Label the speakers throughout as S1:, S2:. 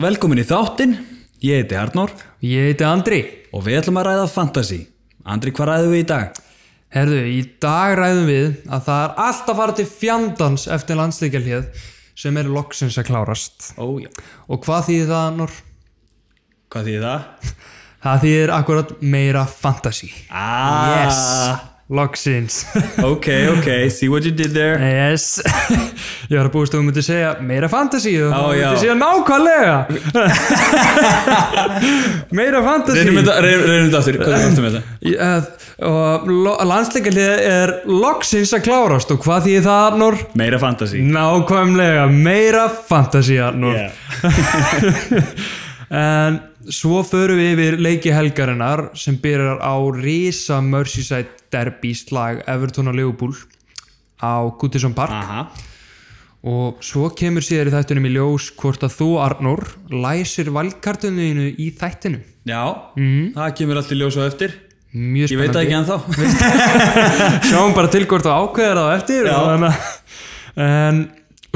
S1: velkomin í þáttinn, ég heiti Arnór
S2: Ég heiti Andri.
S1: og við ætlum að ræða fantasy. Andri, hvað ræðum við í dag?
S2: Herðu, í dag ræðum við að það er alltaf farið til fjandans eftir landslíkjalið sem er loksins að klárast.
S1: Ó, já.
S2: Og hvað þýðir það, Nór?
S1: Hvað þýðir það?
S2: Það þýðir akkurat meira fantasy.
S1: Ah,
S2: Loksins.
S1: ok, ok, see what you did there.
S2: yes. Ég var að búist að þú myndi segja meira fantasy og
S1: Á,
S2: þú
S1: já.
S2: myndi segja nákvæmlega. meira fantasy.
S1: Reynum þetta, reynum reynum þetta aftur, hvað er aftur með þetta?
S2: Í- eh, Og landslíkjalið er loksins að klárast og hvað þýðir það, Nór?
S1: Meira fantasy.
S2: Nákvæmlega, meira fantasía nú.
S1: Yeah.
S2: En svo förum við yfir leiki helgarinnar sem byrjar á Risa Merseyside derby slag Everton og Liverpool á Goodison Park
S1: Aha,
S2: og svo kemur síðar í þættunum í ljós hvort að þú Arnór læsir valkartuninu í þættinum.
S1: já, það kemur allt í ljós á eftir.
S2: Mhm. Mjög
S1: Ég veit það
S2: spennandi.
S1: ekki ennþá.
S2: Sjáum bara til hvort þú ákveðir það á eftir.
S1: Já.
S2: og þannig að- En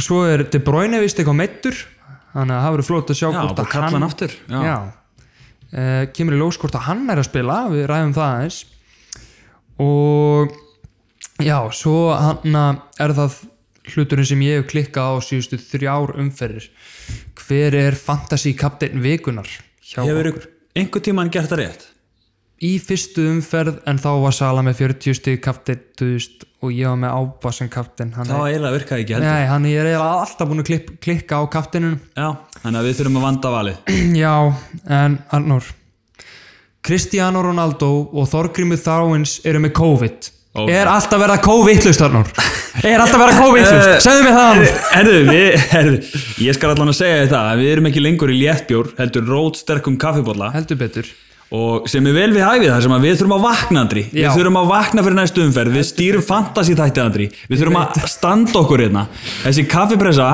S2: svo er De Bruyne vist eitthvað meittur þannig að það verður flott að sjá
S1: Já,
S2: hvort
S1: bara
S2: að
S1: kalla hann aftur. Já.
S2: Já. Uh, kemur í ljós hvort að hann er að spila, við ræðum það aðeins. Og já, svo hann er það hluturinn sem ég hef klikkað á síðustu þrjár umferðir. Hver er fantasy kapteinn vikunar? Hjá
S1: Hefur einhver tíman gert það rétt?
S2: í fyrstu umferð en þá var Sala með 40 stig kapteinn, þú veist, og ég var með Ába sem kapteinn. Hann
S1: Það
S2: er,
S1: var eiginlega virkaði ekki heldur.
S2: nei, hann er eiginlega alltaf búin að klipp, klikka á kapteinnum.
S1: Já, þannig að við þurfum að vanda valið.
S2: Já, en Arnór Cristiano Ronaldo og Þorgrimur Þráins eru með COVID
S1: Ó.
S2: Er alltaf verða COVID-lust Arnór? Er alltaf verða COVID-lust? Segðu mér það Arnór
S1: Herðu, við, herðu, ég skal allan að segja þetta að við erum ekki lengur í léttbjór, heldur rótsterkum kaffibólla
S2: Heldur betur
S1: og sem er vel við hæfið þar sem að við þurfum að vakna Andri, við
S2: Já.
S1: þurfum að vakna fyrir næstu umferð, við stýrum fantasy þætti Andri, við þurfum að standa okkur hérna, þessi kaffipressa,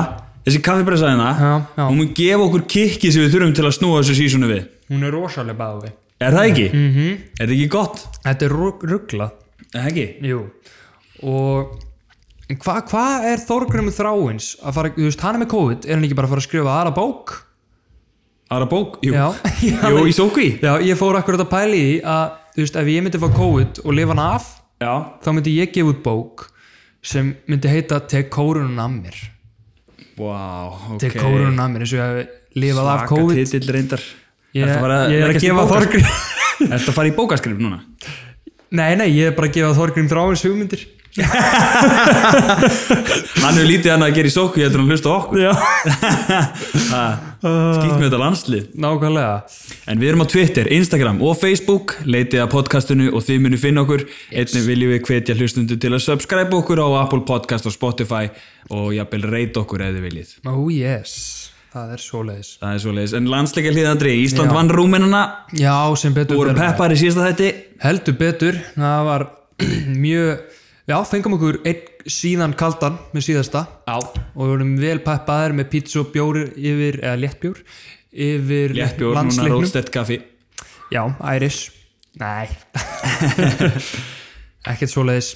S1: þessi kaffipressa hérna,
S2: Já, já.
S1: hún mun gefa okkur kikki sem við þurfum til að snúa þessu sísonu við,
S2: Hún er rosalega báði
S1: er það ekki? Mm
S2: Mhm.
S1: -hmm. Er það ekki gott?
S2: Þetta er ruggla
S1: Er það ekki?
S2: Jú Og en hvað hva er Þorgrimur Þráins að fara, þú veist, hann er með COVID Er hann ekki bara að fara að skrifa aðra bók?
S1: Aðra bók? Jú,
S2: Já.
S1: Jú í sókví?
S2: Já, ég fór akkurat að pæli í að, þú veist, ef ég myndi að fá COVID og lifa hann af
S1: Já.
S2: þá myndi ég gefa út bók sem myndi heita Tek kórunun af mér
S1: Wow, ok.
S2: Tek kórunun af mér eins og ég hef lifað af COVID
S1: Svaka titill reyndar.
S2: ég,
S1: Ertu að fara
S2: ég er að
S1: leggjast í
S2: gefa
S1: bókas-
S2: Þorgrím
S1: Ertu að fara í bókaskrif núna?
S2: Nei, nei, ég er bara að gefa Þorgrím þráins hugmyndir
S1: Hann hefur lítið hann að gera í sóku, ég heldur hann hlusta á okkur.
S2: Já Ah.
S1: Skýtt með þetta landslið.
S2: Nákvæmlega
S1: En við erum á Twitter, Instagram og Facebook, leitið að podcastinu og þið munu finna okkur. Einnig viljum við hvetja hlustundu til að subscribe okkur á Apple Podcast og Spotify og jafnvel reyta okkur ef þið viljið.
S2: Oh yes, það er svoleiðis
S1: Það er svoleiðis. En landsleika hlýðandri, Ísland
S2: Já.
S1: vann Rúmenana,
S2: Já, sem betur
S1: voru
S2: fer.
S1: peppar í síðasta þætti.
S2: Heldur betur, það var mjög Já, fengum okkur einn síðan kaldan með síðasta
S1: Já.
S2: og við vorum vel peppaðir með pizza og bjóri yfir, eða léttbjór yfir
S1: Léttbjór, núna
S2: landsleiknum.
S1: Róðstedt kaffi.
S2: Já, Iris Nei Ekkert svoleiðis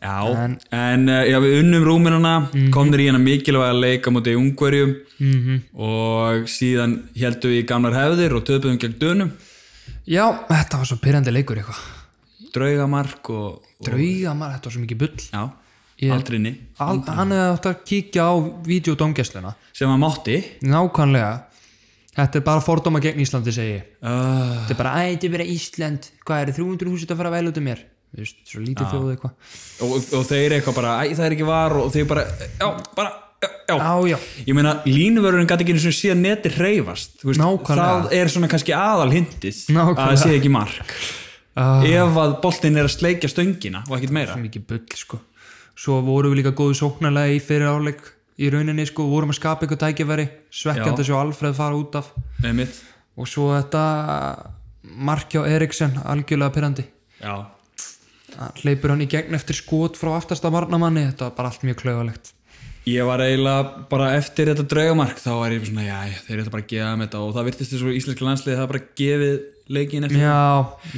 S1: Já, en,
S2: En- Mhm.
S1: eh, já, við unnum rúminana, komnir í hérna mikilvæga leika mútið í Ungverjum
S2: Mhm.
S1: og síðan heldum við í gamlar hefðir og töpuðum gegn dönum,
S2: Já, þetta var svo pyrrandi leikur eitthvað
S1: draugamark og, og
S2: Drauga maður, þetta var svo mikið bull
S1: já,
S2: Ég-
S1: aldrei ný,
S2: Al, Hann hefði átt að kíkja á vídeodómgæsluna
S1: sem að mátti.
S2: Nákvæmlega Þetta er bara fordóma gegn Íslandi segi ég
S1: Uh,
S2: Þetta er bara, æ, þetta er bara Ísland Hvað eru 300 húsit að fara að væla út um mér Þú veist, Svo lítið þjóð eitthvað
S1: og, og þeir eitthvað bara, æ, það er ekki var og þeir bara, já, bara, já, já.
S2: Á, já
S1: Ég meina, línuvörurinn gæti ekki einu sinni síðan neti reyfast.
S2: Nákvæmlega.
S1: Það er svona kannski aðal hindið að
S2: Nákvæmlega.
S1: það sé ekki mark.
S2: Ah.
S1: Ef að boltinn er að sleikja stöngina og ekkit meira.
S2: Svo mikið bull sko svo vorum við líka góðu sóknarlega í fyrir áleik í rauninni sko, vorum að skapa eitthvað tækifæri svekkjandi að sjá Alfreð fara út af
S1: Nei mitt.
S2: og svo þetta markjá Eriksen, algjörlega pyrrandi
S1: Já,
S2: hleypur hann í gegn eftir skot frá aftasta varnamanni, þetta var bara allt mjög klaugalegt
S1: ég var eiginlega bara eftir þetta draugamark þá var ég svona, já, þeir eru bara að gefa með þetta og það virtist þessu íslenska landsliði það bara gefið leikin eftir
S2: já,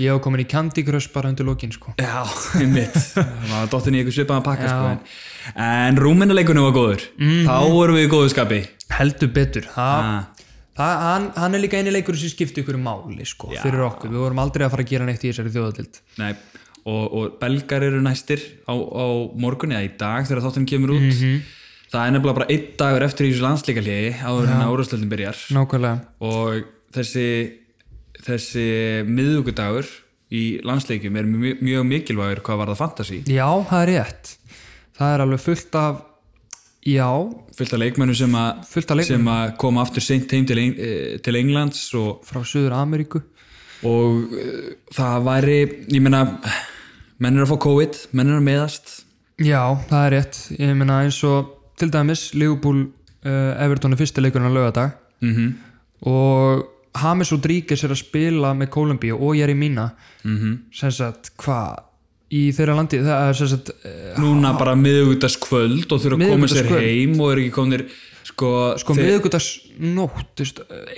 S2: ég hef komin í Candy Crush bara undir lokin sko
S1: Já, einmitt, það var dottin í eitthvað svipaðan pakka sko, en, Mhm. en rúminnaleikunum var góður, þá vorum við í góðu skapi
S2: heldur betur, það,
S1: ah.
S2: Það, hann, hann er líka eini leikur sem skipti ykkur máli sko,
S1: Já.
S2: fyrir okkur, við vorum aldrei að fara að gera neitt í þessari þjóðatild
S1: Nei, og, og belgar eru næstir á, á morgun eða í dag þegar þátturinn kemur út það er nefnilega bara einn dagur eftir í þessu landslíkarliði áður en að úrústöldin byrjar
S2: nákvæmlega,
S1: og þessi þessi miðugudagur í landsleikjum er mjög, mjög mikilvægur hvað var það fantasi
S2: já það er rétt það er alveg fullt af já,
S1: fullt af leikmennu sem að
S2: Fullt af leikmönnum.
S1: sem að koma aftur seint heim til, Eng- eh, til Englands og
S2: frá Suður Ameríku
S1: og uh, það væri ég meina, menn eru að fá COVID menn eru að meðast
S2: já, það er rétt, ég meina eins og til dæmis, Liverpool uh, Everton er fyrsti leikurinn á lögadag
S1: mm -hmm.
S2: og James Rodríguez er að spila með Kolumbíu og Jerry Mina mm -hmm. sem sagt, hvað í þeirra landi, það er sem sagt eh,
S1: núna bara miðugudagskvöld og þurfa að koma sér
S2: Miðvikudagskvöld.
S1: heim og eru ekki komnir sko,
S2: sko
S1: þeir-
S2: miðugudags nótt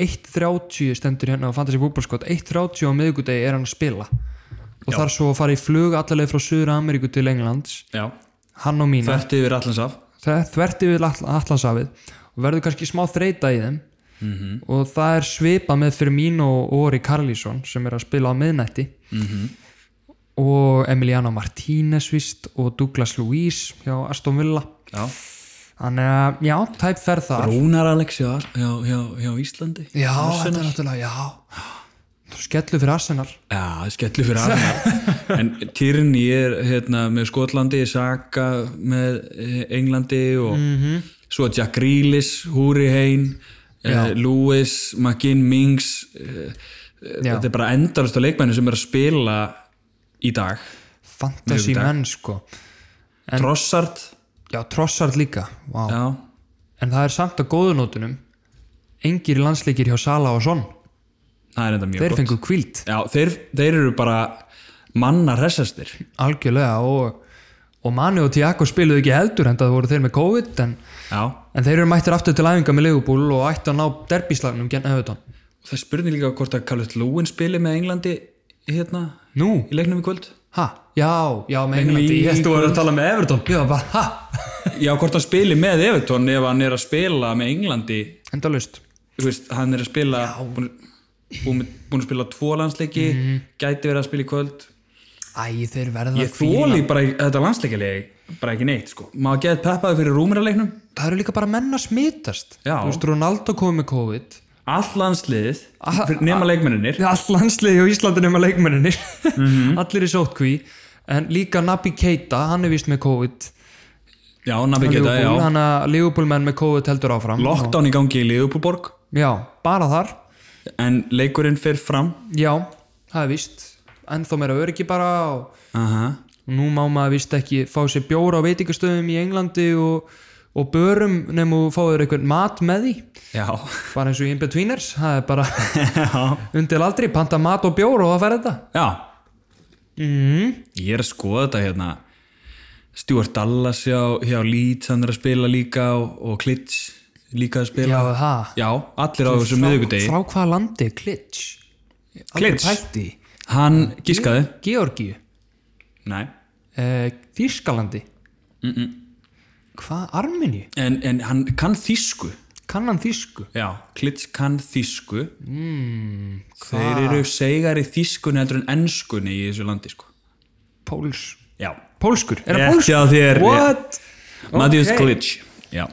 S2: 1.30 stendur hérna á Fantasy Football Squad 1.30 á miðugudagi er hann að spila og þar svo að fara í flug allaveg frá Suður Ameríku til Englands
S1: já,
S2: hann og mína,
S1: þvert yfir allansaf
S2: það er þvert yfir Atl- Atlantsafið og verður kannski smá þreita í þeim
S1: Mhm.
S2: -hmm. og það er svipað með Firmino og Ori Karlísson sem er að spila á miðnætti
S1: Mhm.
S2: -hmm. og Emiliano Martínez vist og Douglas Luís hjá Aston Villa
S1: já.
S2: þannig að, já, tæp fer það
S1: Rúnar Alex hjá, hjá, hjá, hjá Íslandi
S2: Já, þetta er náttúrulega, já Þú skellu fyrir Arsenal
S1: já, skellu fyrir aðeins en Tyrni er hérna, með Skotlandi, Saka með eh, Englandi og
S2: Mhm.
S1: svo Jack Grealish, Húri Hein eh, Lewis, McGinn Mings eh, eh,
S2: Já.
S1: þetta er bara endalust á leikmenni sem er að spila í dag
S2: Fantasy menn sko
S1: Trossard
S2: Já, Trossard líka wow.
S1: já,
S2: En það er samt að góðunótunum Engir landsleikir hjá Sala og Son
S1: það er enda mjög
S2: Þeir
S1: gott
S2: fengu kvíld
S1: já, þeir, þeir eru bara manna hressastir
S2: Algjörlega og, og Manu og Tiago spiluðu ekki heldur En það voru þeir með COVID En,
S1: já,
S2: en þeir eru mættir aftur til æfinga með Leifubúl Og ættu að ná derbíslagnum genn öðvitað
S1: það spurði líka hvort að Calvert Lúin spili með Englandi hérna
S2: Nú,
S1: í leiknum í kvöld
S2: ha, já, já með Englandi
S1: í-
S2: Ég ætti að vera að tala með Everton Já, bara, ha,
S1: já, hvort hann spili með Everton ef hann er að spila með Englandi
S2: endalaust
S1: þú veist, hann er að spila búin, búin, búin að spila tvo landsleiki gæti verið að spila í kvöld
S2: Æ, þeir verða
S1: Mhm. ég þóli bara í- þetta landsleikileg bara ekki neitt sko, maður getur peppaði fyrir rúmiraleiknum
S2: það eru líka bara menn að smitast
S1: Já.
S2: þú veist, Ronaldo komið með COVID
S1: allt landsliðið, fyrir- nema leikmenninir
S2: all landsliði á Íslandinu með leikmenninni allir í sótkví en líka Nabi Keita, hann er vist með COVID
S1: já, nabi geta,
S2: Liverpool,
S1: já,
S2: hann að Liverpool menn með COVID heldur áfram
S1: lockdown í gangi í Liðupúborg
S2: já, bara þar,
S1: en leikurinn fer fram
S2: já, það er vist ennþá meira öryggi bara og
S1: aha
S2: nú má maður vist ekki fá sér bjóra á veitingastöðum í Englandi og, og börum nefnum og fáður einhvern mat með því
S1: já,
S2: bara eins og í Inbetweeners, það er bara
S1: já
S2: undir aldrei, panta mat og bjóra og það fer þetta
S1: Já
S2: mm.
S1: Ég er að skoða þetta hérna Stuart Dallas hjá, hjá Leeds hann er að spila líka og, og Klitsch líka að spila
S2: Já, það
S1: Já, allir á þessum miðugudegi
S2: Frá hvaða landi er Klitsch?
S1: Klitsch?
S2: Hætti
S1: Hann gískaði
S2: Georgíu
S1: Nei
S2: uh, Þýskalandi
S1: mm -mm.
S2: Hvað? Armeníu?
S1: En, en hann kann þýsku
S2: Kann hann þýsku?
S1: Já, Klitsch kann þýsku mm,
S2: Hmm,
S1: Þeir eru segari þýskunni heldur en enskunni í þessu landi sko
S2: Póls
S1: Já
S2: Pólskur? Er
S1: Rétt
S2: það pólskur?
S1: hjá þér,
S2: What?
S1: Matthews
S2: Ok.
S1: Klitsch Já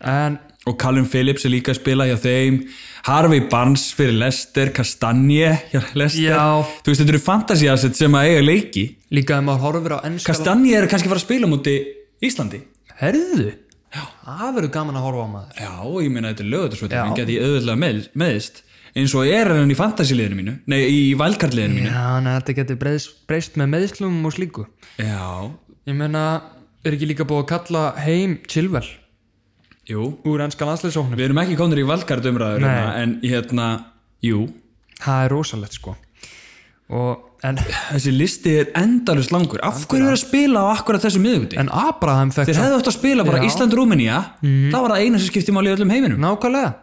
S2: En
S1: og Callum Phillips er líka að spila hjá þeim Harvey Barnes fyrir Lester Kastanje hjá Lester
S2: Já.
S1: þú veist þetta eru fantasy asset sem að eiga leiki
S2: líka ef maður horfir á ennska
S1: Kastanje er kannski að fara að spila múti Íslandi
S2: Herðu? Já Það verður gaman að horfa á maður
S1: já, ég meina þetta er lögutarsvöldum
S2: Já.
S1: hann geti auðvitað með, meðist eins og er hann í fantasy liðinu mínu nei, í valkart liðinu mínu
S2: Já, en þetta getur breyst, breyst með meðslum og slíku
S1: já,
S2: Ég meina, er ekki líka búið að kalla heim Chilwell
S1: jú,
S2: úr ennska landsleisóknum?
S1: við erum ekki komnir í valkart umræður
S2: Nei.
S1: hérna, en hérna, jú
S2: Það er rosalegt sko og, En
S1: þessi listi er endalust langur af hverju er að spila á akkurat þessu miðuguti
S2: En Abraham fekk
S1: Þeir
S2: samt-
S1: hefðu átt að spila bara
S2: Já. Mhm.
S1: Ísland-Rúmenía Það var það eina sem skipti máli í öllum heiminum
S2: nákvæmlega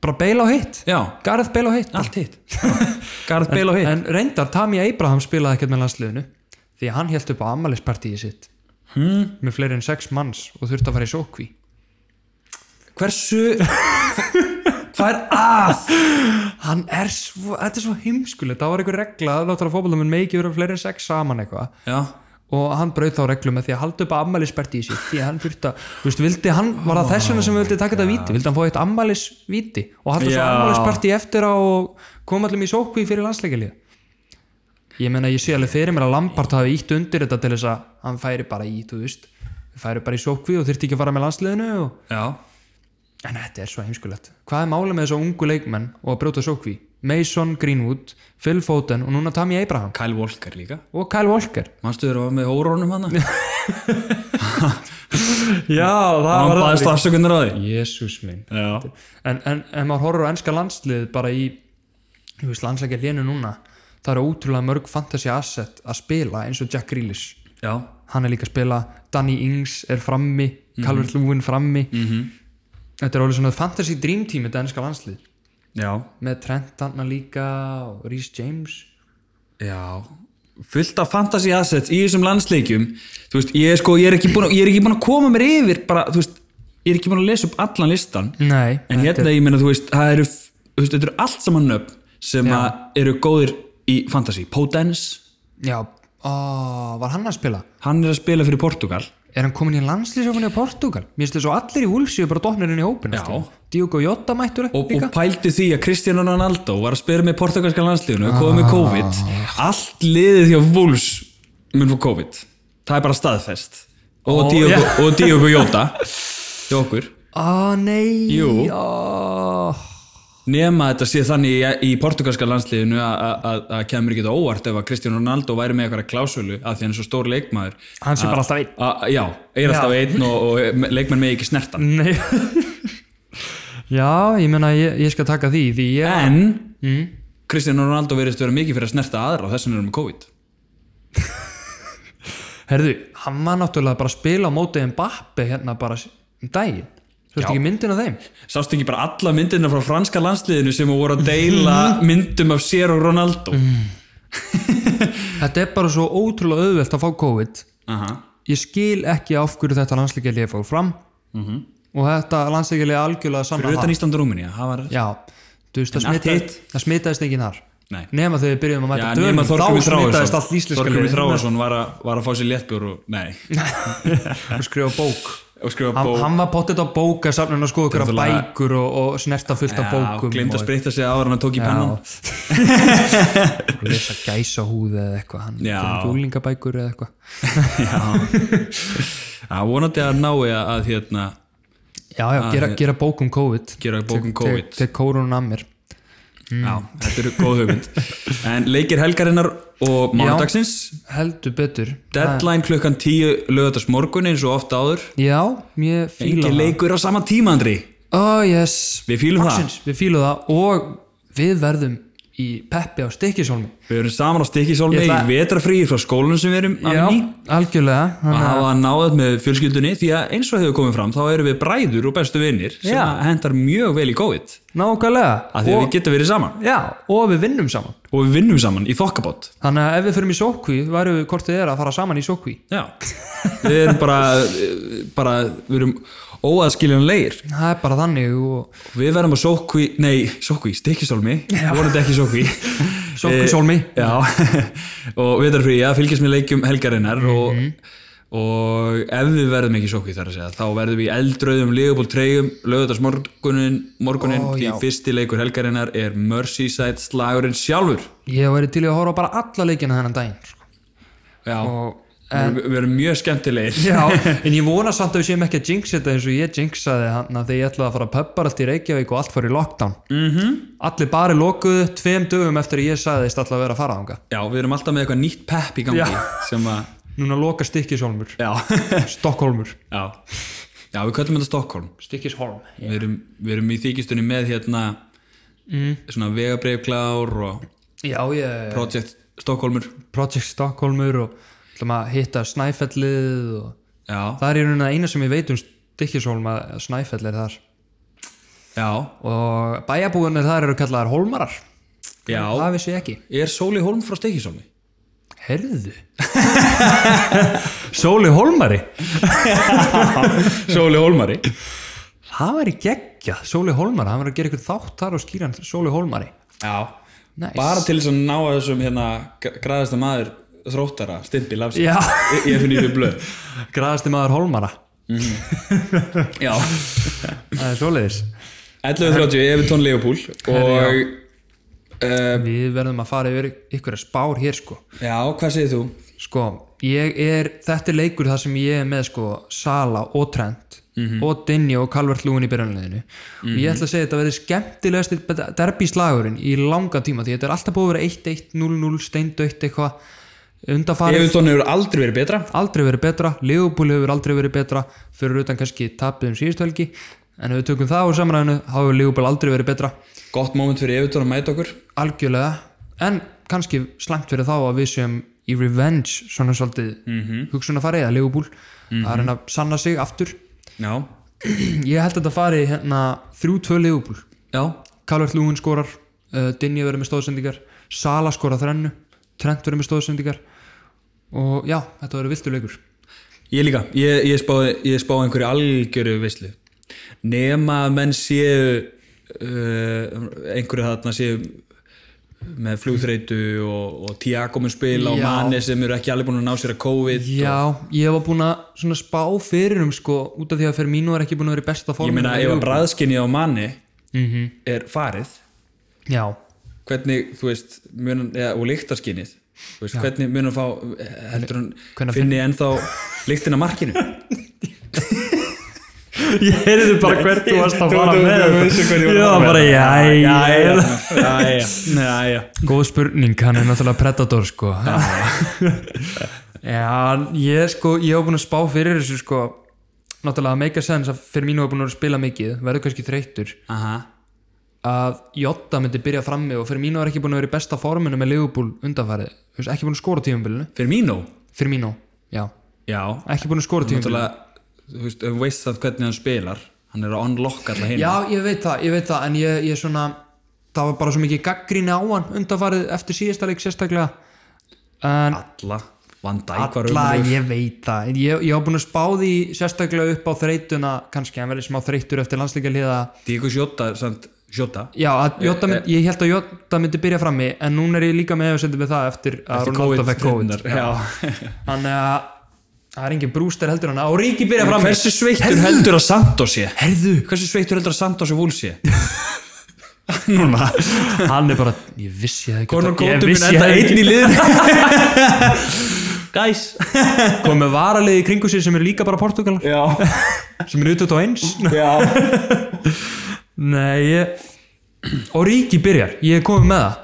S2: bara beil á hitt
S1: Já,
S2: Gareth beil á hitt
S1: allt hitt Garð Bale og hitt
S2: En reyndar Tammy Abraham spilaði ekkert með landsliðinu því að hann held upp á ammælispartíi sitt hmm. með fleiri en sex manns og þurfti að fara í sókví
S1: Hversu Hvað er að?
S2: hann er svo, þetta er svo heimskulegt það var einhver regla að náttúrulega fótballamenn megi vera fleiri en sex saman eitthvað
S1: Já,
S2: og hann braut þá reglum með því að halda upp ammælisberti í sig því að hann þurfti að, þú veist, vildi hann var það þess vegna sem vildi taka þetta víti vildi hann fá eitt ammælisvíti og halda svo
S1: Já.
S2: ammælisberti eftir á og koma allir í sókví fyrir landsleikalið ég meina ég sé alveg fyrir mér að Lampart hafi ítt undir þetta til þess að hann færi bara í, þú veist færi bara í sókví og þurfti ekki að fara með landsliðinu og...
S1: já,
S2: en þetta er svo heimskulegt hvað er málið með þessa ungu leikmenn og að brjóta sókví Mason Greenwood, Phil Foden og núna Tammy Abraham
S1: Kyle Walker líka
S2: og Kyle Walker
S1: Manstu þér að var með hórónum hana?
S2: Já,
S1: Hann baðist afsökunar á því
S2: Jésús minn
S1: Já,
S2: En, en, en maður horfir á enska landslið bara í þú veist, landslækja lénu núna það eru ótrúlega mörg fantasy asset að spila eins og Jack Grealish
S1: já,
S2: hann er líka að spila, Danny Ings er frammi Calvert Lúin frammi Þetta er alveg svona fantasy dream team þetta enska landslið
S1: já,
S2: með Trent hann líka og Rhys James
S1: já fullt af fantasy assets í þessum landsleikjum þú veist, ég er sko, ég er ekki búin að, ég er ekki búin að koma mér yfir bara, þú veist, ég er ekki búin að lesa upp allan listan
S2: Nei,
S1: en
S2: þetta
S1: hérna, ég meina, þú veist, það eru þú veist, þetta eru allt saman nöfn sem að eru góðir í fantasy Potence,
S2: er- Já, ó, var hann að spila?
S1: hann er að spila fyrir Portugal
S2: Er hann komin í landslýsjófinni á Portugal? Mér finnst þess að allir í Wolfsíu bara dofnir inn í hópin
S1: Já.
S2: Diogo Jota mættur upp
S1: og, og
S2: líka
S1: pældu því að Cristiano Ronaldo var að spila með portugalska landsliðinu og
S2: Ah.
S1: komið með COVID allt liðið hjá Wolves mun fór COVID það er bara staðfest og,
S2: Ó,
S1: Diogo,
S2: já.
S1: og Diogo Jota hjá okkur
S2: Á nei
S1: Jú.
S2: ó.
S1: nema þetta sé þannig í, í portugalska landsliðinu að- að að- að kemur ekki þetta óvart ef að Cristiano Ronaldo væri með eitthvað klásölu af því hann er svo stór leikmaður
S2: Hann sé bara alltaf einn.
S1: A- já, er alltaf einn og, og leikmenn með ekki snertan
S2: Nei Já, ég meina ég, ég skal taka því Því ég
S1: en
S2: Mm.
S1: Cristiano Ronaldo verðist vera mikið fyrir að snerta aðra og þess vegna er hann með COVID
S2: Herðu, hann var náttúrulega bara að spila á mótið Mbappe hérna bara s- um daginn Svo ekki myndin af þeim
S1: Sást ekki bara alla myndina frá franska landsliðinu sem voru að deila
S2: Mhm.
S1: myndum af sér og Ronaldo?
S2: Þetta er bara svo ótrúlega auðvelt að fá COVID
S1: Aha.
S2: Ég skil ekki af hverju þetta landslíkjalið fór fram og þetta landslíkjalið algjörlega
S1: Mhm. Fyrir
S2: saman
S1: utan Ísland og Rúminía, það var...
S2: Já, þú veist, það,
S1: En allt
S2: smita,
S1: hitt?
S2: það smitaðist enginn þar
S1: Nei.
S2: nema þegar við byrjum að
S1: Já,
S2: mæta
S1: nema
S2: dönum
S1: Þorgrymur
S2: þá smitaðist allt
S1: Þráarsson.
S2: íslenska
S1: Þorgrymur
S2: liðið
S1: Þráarsson var, að- var að fá sér léttbjör og... Nei.
S2: og skrifa bók
S1: Og skrifa
S2: hann,
S1: bók.
S2: hann var pottet á bóka safnun og skoða okkur
S1: Náttúrulega-
S2: bækur og, og snerta fullt af bókum
S1: Glind að spritta sig áður en hann tók í pennan.
S2: og og lesa gæsa eða eitthvað hann
S1: Já.
S2: gúlingabækur eða eitthvað
S1: Já, vonandi að nái að, að hérna,
S2: já, já, gera, gera bók um COVID
S1: Ah, gera bókum COVID.
S2: til kórunum að mér
S1: Já,
S2: mm.
S1: þetta eru góð hugmynd. En leikir helgarinnar og mánudagsins.
S2: heldur betur
S1: Deadline klukkan 10 lögadags morgun eins og ofta áður.
S2: já, ég
S1: Engi
S2: fíla það
S1: leikur á sama tíma, Andri.
S2: oh yes
S1: Við fýlum það.
S2: Loksins, við fílum það og við verðum í peppi á stikkisólmi
S1: Við erum saman á stikkisólmi
S2: Ég
S1: í
S2: ætla-
S1: vetrafríi frá skólanum sem við erum
S2: Já,
S1: að í
S2: algjörlega
S1: og
S2: hann,
S1: hafa náðað með fjölskyldunni því að eins og hefur komið fram þá erum við bræður og bestu vinnir sem
S2: Já.
S1: að hendar mjög vel í COVID
S2: nákvæmlega
S1: að því að
S2: og,
S1: við getum verið saman
S2: já, og við vinnum saman
S1: og við vinnum saman í þokkabót
S2: þannig að ef við förum í sókví væru við hvort þið er að fara saman í sókví
S1: Já, við erum bara, bara við erum óaðskiljanlegir
S2: það er bara þannig og
S1: Við verðum að sókví, nei, sókví, stikkisólmi vonandi ekki sókví Eh,
S2: sókvísólmi
S1: Já, og vetrafríi að fylgjast með leikjum helgarinnar
S2: Mhm.
S1: og, og ef við verðum ekki sókvíð þar að segja, þá verðum við í eldrauðum ligaból treyjum, lögðast morgunin, morgunin
S2: Ó,
S1: því
S2: já.
S1: fyrsti leikur helgarinnar er Merseyside slagurinn sjálfur.
S2: ég væri til í að horfa á bara alla leikina þennan daginn sko.
S1: Já,
S2: og
S1: við, við erum mjög skemmtilegir.
S2: Já, en ég vona samt að við séum ekki að jinx þetta eins og ég jinxaði hann að þegar ég ætlaði að fara að pöppar allt í Reykjavík og allt fór í lockdown mm -hmm. Allir bari lokuðu tveim dögum eftir að ég sagði þeist alltaf að vera að fara ánga
S1: Já, við erum alltaf með eitthvað nýtt pepp í gangi sem að,
S2: Núna loka Stikkishólmur
S1: já,
S2: Stokkólmur
S1: já, já, við köllum þetta Stockholm.
S2: Stikkishólm
S1: Við, erum, við erum í þykistunni með hérna svona vegabreyfklár og
S2: Já, ég
S1: Project Stockholmur.
S2: Project Stokkólmur og ætlum að hitta Snæfellið og
S1: Já,
S2: það er í rauninni að eina sem ég veit um Stikkishólm að Snæfell er þar
S1: já,
S2: og bæjabúinir þar eru kallaðar hólmarar
S1: já.
S2: Það vissi ég ekki
S1: Er Sóli Holm frá Steikisólmi?
S2: Herðu Sóli Hólmari
S1: Sóli Holmari
S2: það væri geggjað, Sóli Hólmar hann var að gera eitthvað þátt þar og skýra hann Sóli Hólmari
S1: Já,
S2: Nice.
S1: bara til þess að ná þessum hérna græðasta maður þróttara, stimpil af sér
S2: Já.
S1: Ég- ég finn yfir blöð
S2: graðasti maður Hólmara
S1: Já,
S2: það er svoleiðis
S1: 11.30 Evertón Leopold og uh,
S2: við verðum að fara yfir ykkur að spár hér sko
S1: já, hvað segir þú?
S2: Sko, ég er, þetta er leikur þar sem ég er með sko Sala og Trent og Dinja og Calvert Lúin í byrjanleginu og ég ætla að segja að þetta verði skemmtilegast derbíslagurinn í langan tíma því þetta er alltaf búið að vera 1-1, 0-0, steindautt eitthvað undanfarið
S1: Evertón hefur aldrei verið betra
S2: aldrei verið betra, Liverpool hefur aldrei verið betra fyrir utan kannski tapið um síðustu helgi en ef við tökum það úr samræðinu þá hefur Liverpool aldrei verið betra
S1: Gott moment fyrir Evertón að mæta okkur
S2: algjörlega en kannski slæmt fyrir þá að við séum í revenge svona svolítið mm -hmm.
S1: Mhm.
S2: hugsunarfarið að Liverpool að reyna að sanna sig aftur
S1: Já,
S2: ég held að þetta fari hérna 3-2 Liverpool
S1: já,
S2: Calvert Lúin skorar uh, Dinja verður með stóðsendingar Sala skorar þrennu Trent verður með stóðsendingar og já, þetta verður viltur leikur
S1: ég líka ég, ég spáði ég spá einhverju algjöru vislu nema að menn séu uh, einhverju þarna séu með flugþreytu og, og Tiago mun spila og
S2: Já.
S1: Mane sem eru ekki alveg búin að ná sér að COVID
S2: já, ég var búin að svona spá fyrir um sko út af því að fyrir mínu er ekki búin að vera í besta form
S1: Ég meina ef að bræðskinni á manni
S2: mm
S1: er farið
S2: já,
S1: hvernig, þú veist, munan, eða, og lyktarskinnið þú veist, hvernig mun hann fá eh, heldur hann
S2: Hvenær
S1: finni ennþá lyktin af markinu
S2: Ég heyrði bara hvert þú varst að fara með þetta Ég var bara, jæja
S1: jæja, jæja
S2: Góð spurning, hann er náttúrulega predator sko Já, ég sko, ég hef búin að spá fyrir þessu sko Náttúrulega að make a sense að fyrir mínu hef búin að vera að spila mikið Verður kannski þreyttur
S1: aha,
S2: Að Jotta myndi byrja frammi og fyrir mínu var ekki búin að vera í besta forminu með Liverpool undanfærið Þú veist, Ekki búin að skora á tímabilinu
S1: fyrir mínu
S2: Fyrir mínu, já
S1: já,
S2: Ekki búin að skora á tímabilinu
S1: náttúrulega þú veist, ef þú veist það hvernig hann spilar hann er að unlock alltaf hinn
S2: Já, ég veit það, ég veit það en ég, ég svona, það var bara svo mikið gaggríni á hann undanfarið eftir síðasta leik sérstaklega en
S1: alla, Van Dijk var
S2: alla,
S1: ömurlegur.
S2: ég veit það ég, ég var búin að spá því sérstaklega upp á þreytuna kannski, hann verið smá þreytur eftir landsleika liða
S1: Diego Jota, samt Jota
S2: Já, að Jota mynd, ég held að Jota myndi byrja frammi en núna er ég líka með að setja við það eftir að Ronaldo fekk COVID
S1: já.
S2: Þannig að það er engin brúster heldur hann og Ríki byrja frammi
S1: hversu sveittur heldur að Santos sé
S2: Herðu,
S1: hversu sveittur heldur að Santos og Wolves sé
S2: núna Hann er bara, ég vissi það ekki
S1: Conor
S2: Ég
S1: Góttur mun
S2: vissi
S1: enda
S2: það ekki
S1: einn í liðinu Guys
S2: komið varalið í kringu sér sem eru líka bara Portugalar
S1: Já,
S2: sem eru utötu á eins
S1: já
S2: Nei, ég... og Ríki byrjar, ég er komið með það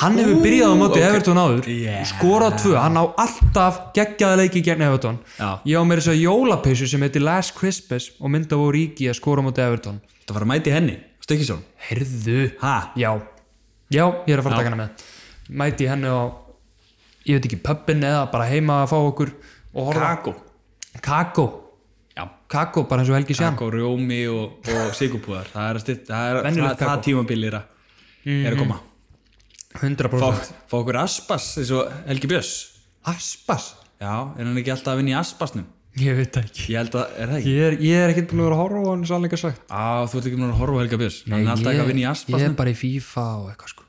S2: hann hefur byrjað á móti
S1: ok.
S2: Everton áður
S1: Yeah.
S2: skorað tvö, hann á alltaf geggjaða leiki gegn Everton
S1: Já.
S2: ég á meira þess að jólapeysu sem heitir Last Christmas og mynda á Ríki að skora á móti Everton
S1: Það var að mæti henni, Stökkisson
S2: Herðu
S1: Ha?
S2: Já, já, ég er að fara að taka hana með mæti henni á ég veit ekki, pubin eða bara heima að fá okkur og horfa
S1: Kako
S2: kakó,
S1: Já
S2: kakó bara eins og Helgi Sján
S1: Kako, Rjómi og, og Sigurpúðar Það er að styrt, það er
S2: Venjulegt
S1: það, það
S2: kakó. Mhm.
S1: tímabilir að er að koma
S2: 100%
S1: Fá, fá okkur Aspas eins og Helgi Björns
S2: Aspas?
S1: Já, er hann ekki alltaf að vinna í Aspasnum?
S2: Ég veit það ekki
S1: Ég held að, er það ekki?
S2: Ég er, ég er ekkert búin að vera að horfa á hann sannleika sagt
S1: Á, þú ert ekki mér að horfa á Helga Björns Hann er alltaf ekki að vinna í
S2: Ég
S1: Aspasnum
S2: er bara í FIFA og eitthvað sko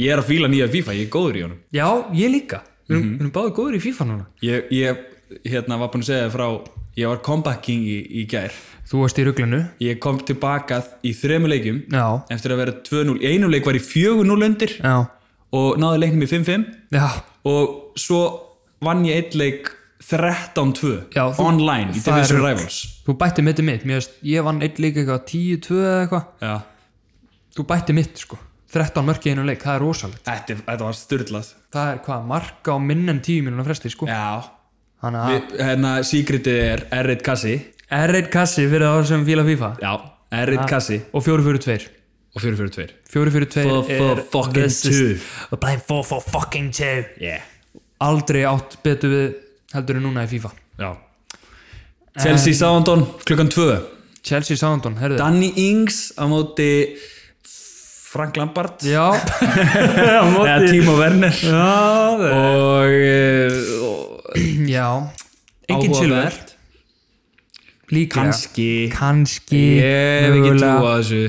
S1: Ég er að fíla nýja FIFA, ég er góður í honum
S2: Já, ég líka Við erum, við erum báðið góður í FIFA núna
S1: Ég, ég hérna, var búin að segja þér frá ég var comebacking í, í gær
S2: Þú varst í ruglunu
S1: ég kom tilbaka í þremu leikjum
S2: Já,
S1: eftir að vera 2-0, í einum leik var ég 4-0 undir
S2: já,
S1: og náði leiknum í 5-5
S2: já
S1: og svo vann ég einn leik 13-2
S2: Já, þú-
S1: online í
S2: það er
S1: Division
S2: rugl.
S1: Rivals
S2: Þú bætti mitt í mitt Mér veist, ég vann einn líka eitthvað 10-2 eða eitthvað
S1: Já.
S2: Þú bætti mitt sko 13 mörk í einu leik, það er rosalegt
S1: Þetta, þetta var styrlað
S2: Það er hvað, marka á minn en 10 mínúna fresti sko
S1: Já,
S2: Þannig að
S1: Við, hérna síkritið er R1 kassi
S2: R1 kassi fyrir það sem fíla FIFA
S1: Já, R1 kassi
S2: Og 4-4-2
S1: og 4-4-2
S2: 4-4-2
S1: For- for
S2: er
S1: fucking
S2: this is-
S1: two.
S2: We're playing 4 for fucking 2
S1: yeah.
S2: aldrei átt betur við heldur en núna í FIFA
S1: Já Chelsea Soundon klukkan 2
S2: Chelsea Soundon, herðu
S1: Danny Ings á móti Frank Lampard
S2: Já,
S1: eða Timo Werner og, eh, og
S2: já Engin silver
S1: áhugavert.
S2: líklega
S1: kannski
S2: kannski
S1: ég hef ekki
S2: mögulega.
S1: trú á þessu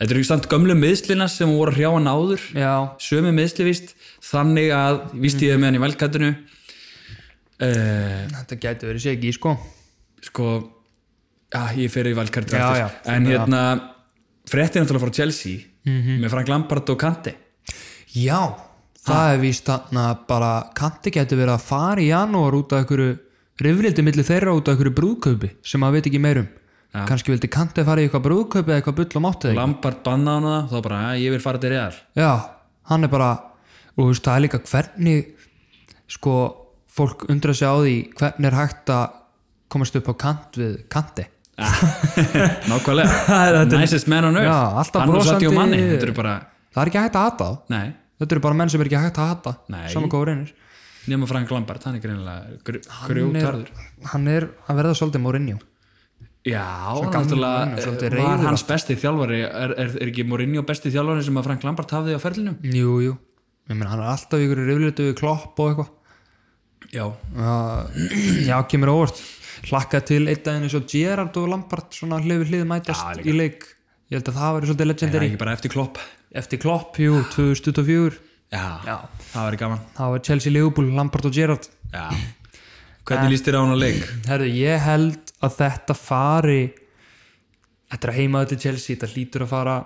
S1: þetta eru samt gömlu miðslina sem voru að hrjá hann áður
S2: já,
S1: sömu miðsli víst þannig að víst ég hef með hann í velkattinu uh,
S2: þetta getur verið segi sko
S1: sko já, ég fer í valkartu
S2: Já,
S1: eftir.
S2: já. Mhm.
S1: en hérna fréttir náttúrulega frá Chelsea með Frank Lampard og Kante
S2: já, það er víst þarna bara kanti getur verið að fara í janúar út af einhverju rifrildi milli þeirra út af einhverju brúðkaupi sem maður veit ekki meirum já. kannski vildi kanti fara í eitthvað brúðkaupi eða eitthvað bull og máttið
S1: Lampard banna hann það, þá bara, "Ja, ég vil fara til reðar
S2: Já, hann er bara og þú veist, það er líka hvernig sko, fólk undra sig á því hvernig er hægt að komast upp á kant við kanti Það er-
S1: nákvæmlega, nicest man on earth
S2: Já, alltaf
S1: hann og
S2: brosandi-
S1: Sadio Manni, þetta eru bara
S2: það er ekki hægt að hata þá
S1: nei,
S2: þetta eru bara menn sem er ekki hægt að hata
S1: Nei.
S2: saman góður reynir
S1: nema Frank Lampard, hann er greinilega gr-
S2: hann er,
S1: grjótarður
S2: hann er að verða svolítið Mourinho
S1: Já,
S2: gammal
S1: náttúrulega
S2: mann, svolítið
S1: eh,
S2: reiður
S1: var hans besti þjálfari er, er, er ekki Mourinho besti þjálfari sem að Frank Lampard hafði á ferlinu?
S2: Jú, jú, ég meina hann er alltaf ykkur riflutu við klopp og eitthvað
S1: Já,
S2: Já, já, kemur á óvart hlakka til einn daginn eins og Gerard og Lampard svona hlið við hlið mætast í leik ég held að það verður svolítið
S1: það er
S2: legendary
S1: ekki bara eftir klopp
S2: eftir klopp, jú, 2024
S1: Já,
S2: Já.
S1: það væri gaman
S2: Það var Chelsea Liverpool, Lampard og Gerrard
S1: Já. Hvernig líst þér á hann á leik?
S2: Herðu, ég held að þetta fari Þetta er að heima til Chelsea Þetta hlýtur að fara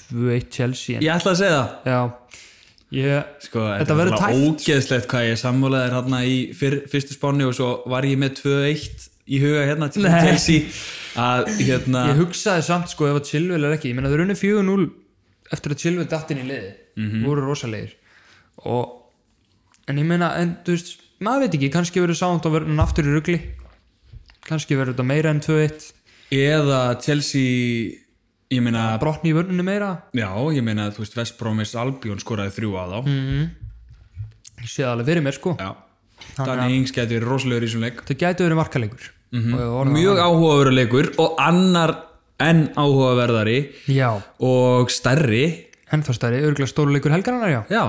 S2: 2-1 Chelsea en...
S1: Ég ætla að segja það
S2: Já, ég
S1: Sko,
S2: Þetta verður
S1: náttúrulega
S2: tæpt.
S1: Ógeðslegt hvað ég sammálaði þér hérna í fyrr, fyrstu spáni og svo var ég með 2-1 í huga hérna til
S2: Nei.
S1: Chelsea að hérna
S2: Ég hugsaði samt sko ef að Chilwell er ekki Ég meina þau runni 4-0 eftir að Chilwell datt inn í liði voru rosalegir og en ég meina en þú veist maður veit ekki, kannski verður sánt að verður hann aftur í rugli kannski verður þetta meira en 2-1
S1: eða Chelsea ég meina
S2: brotni í vörnunni meira
S1: Já, ég meina, þú veist, West Bromis Albion skoraði þrjú að þá mm.
S2: ég sé það alveg fyrir mér sko
S1: Já, Danny Ings gæti verið rosalegur í þessum leik
S2: það gæti verið markalegur mm
S1: Mjög áhugaverður leikur og annar enn áhugaverðari
S2: já,
S1: og stærri
S2: ennþá stærri, örgulega stóruleikur helgarinnar já
S1: Já,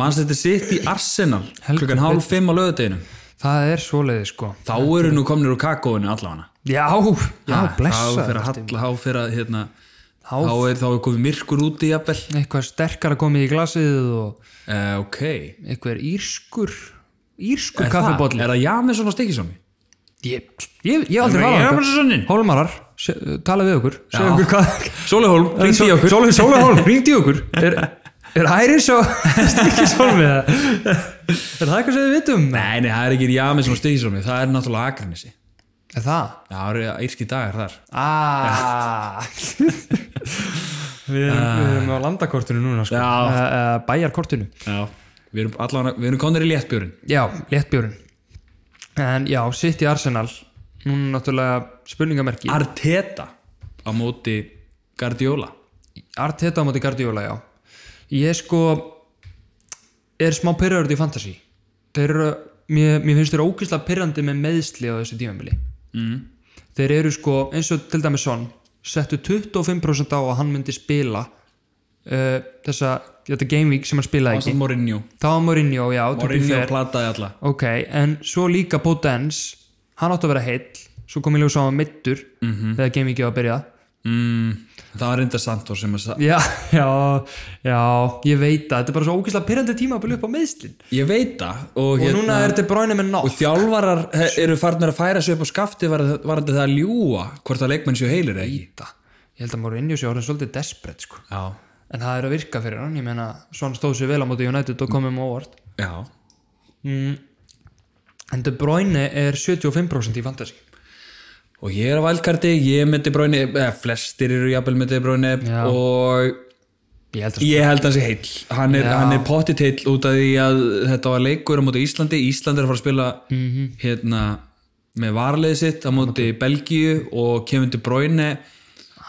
S1: mannstætti sitt í Arsenal
S2: Heldur
S1: klukkan hálf fimm á lögadeginu
S2: það er svoleiði sko
S1: Þá eru nú komnir úr kakóinu allavega
S2: já, já,
S1: Þá
S2: blessa
S1: fyrir að halla, þá fyrir að hérna
S2: Þá-
S1: Þá er þá er komið myrkur úti jafnvel
S2: eitthvað sterkara komið í glasið og
S1: uh, Ok, er
S2: eitthvað írskur írskur
S1: það,
S2: kaffibóll
S1: er það Jamison og Stikisómi?
S2: ég, ég, ég aldrei fara þangað.
S1: Jaminssonin
S2: Hólmarar, se- uh, tala við okkur segja okkur hvað
S1: Sólihólm,
S2: Eh,
S1: ringdi í okkur
S2: Sólu, Sólu Hólm, ringdi í okkur er, er æris og stikki sólmið er það eitthvað sem við vitum
S1: Nei, nei, það er ekki Jamison og Stikisómi Það er náttúrulega Akranesi
S2: er það
S1: Það eru írski dagar þar
S2: Ah. við, erum, við erum á landakortinu núna sko.
S1: Já.
S2: uh, uh, bæjarkortinu
S1: Já, við erum allavega, við erum konir í léttbjörn
S2: já, léttbjörn en já, sitt í Arsenal núna náttúrulega spurningamerki
S1: Arteta á móti Guardiola
S2: Arteta á móti Guardiola, já ég sko er smá pyrraður í fantasy þeir eru, mér, mér finnst þeir ógeðslega pyrrandi með meðsli á þessu tímabili
S1: mm.
S2: þeir eru sko, eins og til dæmis son settu 25% á að hann myndi spila uh, þessa, þetta game week sem hann spilaði ekki
S1: Ástand Mourinho
S2: Það var Mourinho, já, to be
S1: Mourinho
S2: fair.
S1: plataði alla
S2: Ok, en svo líka Potens, hann átti að vera heill, svo kom ég ljósa á hann mittur þegar game ekki var að byrja.
S1: mm, Það var reynda Santos sem að sa-
S2: Já, já, já, ég veit að þetta er bara svo ógeðslega pyrrandi tíma að byrja upp á meðslinn.
S1: Ég veit það og,
S2: Og
S1: hérna,
S2: núna er þetta bráinu með nótt.
S1: og þjálfarar he- eru farnir að færa sig upp á skafti varandi var varðandi það að ljúa hvort að leikmenn séu heilir eða ekki
S2: Ég held að Mourinho sé orðin svolítið desperate, sko.
S1: Já,
S2: En það er að virka fyrir hann, ég meina, svona stóð sér vel á móti United og komum óvart.
S1: já
S2: Mm. En De Bruyne er 75% í fantasy.
S1: Og ég er á valkarti, ég er með De Bruyne eða flestir eru jafnvel með De Bruyne
S2: Já.
S1: og
S2: Ég held að
S1: Ég held hans í heill Hann er,
S2: Já.
S1: hann er pottitt heill út af því að þetta var leikur á móti Íslandi Ísland er að fara að spila
S2: Mhm.
S1: hérna, með varleðið sitt á móti Belgíu og kemur til Bróinu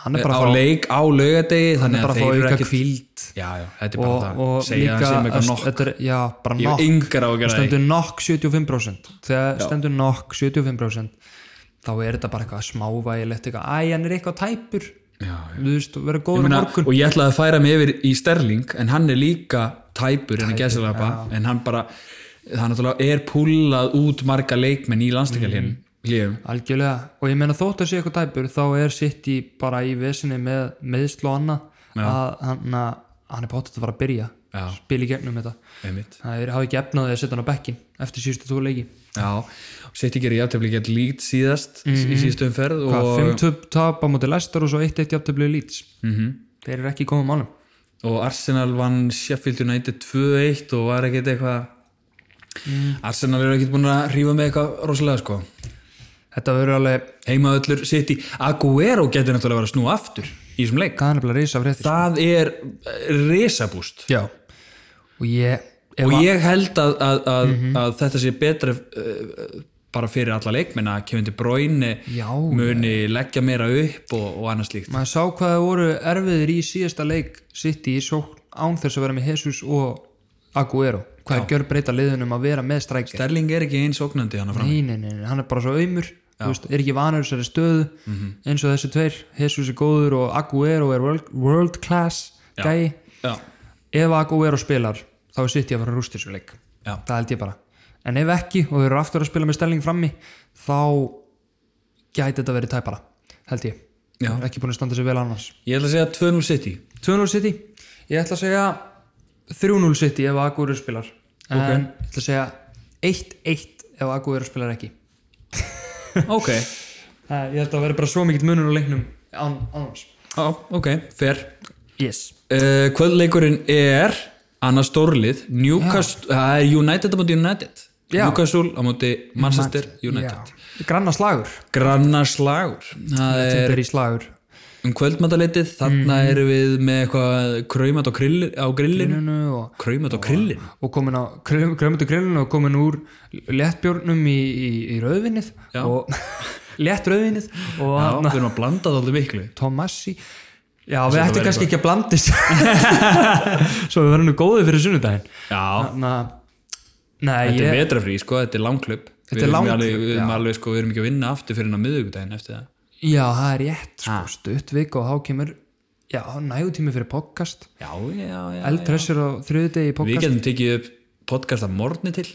S2: hann er bara
S1: á
S2: að fá,
S1: leik á laugadegi
S2: hann er
S1: þannig að
S2: bara að fá
S1: þeir eru
S2: auka
S1: ekkit
S2: kvíld.
S1: Já, já, þetta er bara
S2: og,
S1: það
S2: og
S1: Segja hann
S2: líka
S1: sem eitthvað
S2: að-
S1: nokk
S2: þetta er, já, bara
S1: Ég
S2: nokk,
S1: er yngar á að gera það
S2: stendur nokk 75% þegar stendur nokk 75% þá er þetta bara eitthvað smávægilegt eitthvað, æ, hann er eitthvað tæpur
S1: Já,
S2: þú veist, vera góður
S1: Meina,
S2: á morgun
S1: og ég ætlaði að færa mig yfir í Sterling en hann er líka tæpur, en,
S2: Mhm.
S1: gæsilapa, en hann bara það náttúrulega er púlað út marga leikmenn í landsleikarlinn hlýjum
S2: algjörlega og ég meina þótt að sé eitthvað dæpur þá er sitt í bara í vesinni með meðsl og annað
S1: Já.
S2: að hann, að- hann er pottet að fara að byrja
S1: Já.
S2: spila í gegnum þetta
S1: einmitt
S2: það er hafa ekki efnaði að setja hann á bekkin eftir síðustu tvo leiki
S1: Já, og sitt ekki er í aftefli gett líkt síðast í síðustu umferð
S2: Mhm. hvað,
S1: og,
S2: 5-2 tap á móti lestar og svo 1-1 jafntöflu lít mm
S1: Mhm.
S2: -hmm. þeir eru ekki í góðum málum
S1: og Arsenal vann Sheffield United 2-1 og var ekkert eitthvað
S2: Mhm.
S1: Arsenal eru ekkert búin að rífa með eitthvað rosalega sko
S2: þetta verður alveg
S1: heimaöllur sitt í Aguero getur náttúrulega verið að snúa aftur í þessum leik
S2: gæðanlega reysa fréttir
S1: það er eh, risabúst
S2: já og ég ef, Mhm.
S1: og ég held að, að, að, að þetta sé betra uh, bara fyrir alla leikmenn að kemur til bróinu
S2: já
S1: muni leggja meira upp og, og annað slíkt
S2: maður sá hvað það voru erfiðir í síðasta leik sitt í sókn án þess að vera með Jesus og Aguero hvað er gjör breyta liðunum að vera með strækja
S1: Sterling Mm. er ekki eins ógnandi hann að fram
S2: nei, nei, nei, nei, hann er bara svo auðmur veist, er ekki vanur þessari stöðu
S1: Mhm.
S2: eins og þessi tveir, Jesus er góður og Aguero er world, world class gæi,
S1: Já,
S2: ef Aguero spilar þá er sitt í að fara að rústa þessu leik
S1: Já.
S2: það held ég bara, en ef ekki og þau eru aftur að spila með Sterling frammi þá gæti þetta verið tæpara held ég,
S1: Já.
S2: Þeir eru ekki búin að standa sér vel annars
S1: ég ætla að segja 2-0 City
S2: 2-0 City ég ætla að segja 3-0 City ef Aguero spilar en ég ætla að segja 1-1 ef Aguero spilar ekki
S1: Ok,
S2: það, ég held að vera bara svo mikill munur á leiknum án, annars
S1: já, ok, fer
S2: yes.
S1: uh, Kvöldleikurinn er annars stórlið Newcastle, það er United á móti United
S2: Já.
S1: Newcastle á móti Manchester United
S2: Já. granna slagur
S1: Grannar slagur Það er
S2: þetta er í slagur
S1: um kvöldmataleitið þarna erum við með eitthvað kraumat á, krill, á Mm. grillinu
S2: Nunu og,
S1: kraumat á grillinu
S2: og komin á krömmundu grillinu og komin úr léttbjórnum í, í, í rauðvinnið
S1: Já.
S2: og létt rauðvinnið og
S1: Já,
S2: hann
S1: við erum að blanda það alveg miklu
S2: Tomassi Já, við ættum
S1: verður
S2: kannski ekki að blandist Svo við verðum nú góðið fyrir sunnudaginn
S1: Já,
S2: Þannig Nei,
S1: þetta er
S2: ég,
S1: vetrafrí sko, þetta er langklub
S2: Þetta
S1: Við
S2: er
S1: erum
S2: langklub,
S1: alveg, við erum
S2: já.
S1: alveg sko, við erum ekki að vinna aftur fyrir hennar miðvikudaginn eftir það
S2: já, það er rétt sko,
S1: Ha.
S2: stutt vik og þá kemur já, nægutími fyrir podcast
S1: Já, já, já, já.
S2: eldressur á þriðudegi í
S1: Við
S2: podcast
S1: getum tekið upp podcast að morgni til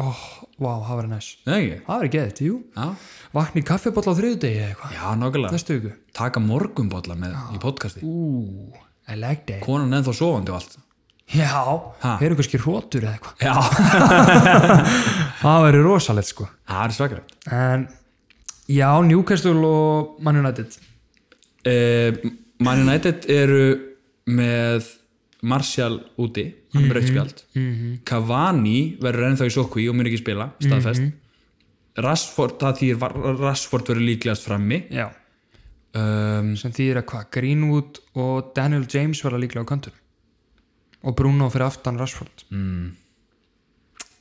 S2: Ó, Oh, vá, það var næs
S1: Nei, ekki?
S2: Það var geðið, jú
S1: Já,
S2: Vakni kaffibólla á þriðudegi eða eitthvað
S1: já, nákvæmlega
S2: Næstu ykkur
S1: taka morgunbolla með í podcasti
S2: Ú, I like that
S1: konan ennþá sofandi og allt
S2: Já,
S1: Ha.
S2: við erum kannski hrótur eða eitthvað
S1: já,
S2: Það verður rosalegt sko
S1: það er svakrætt
S2: En, já, Newcastle og Man United
S1: uh, Man United eru með Martial úti hann er með
S2: Mhm.
S1: rauðspjald mm Cavani verður ennþá í sókví og mun ekki spila staðfest
S2: Mhm.
S1: Rashford, það þýr Rashford verður líklegast frammi
S2: Já,
S1: um,
S2: sem þýðir að hvað, Greenwood og Daniel James verða líklega á kantur og Bruno fyrir aftan Rashford
S1: Mm.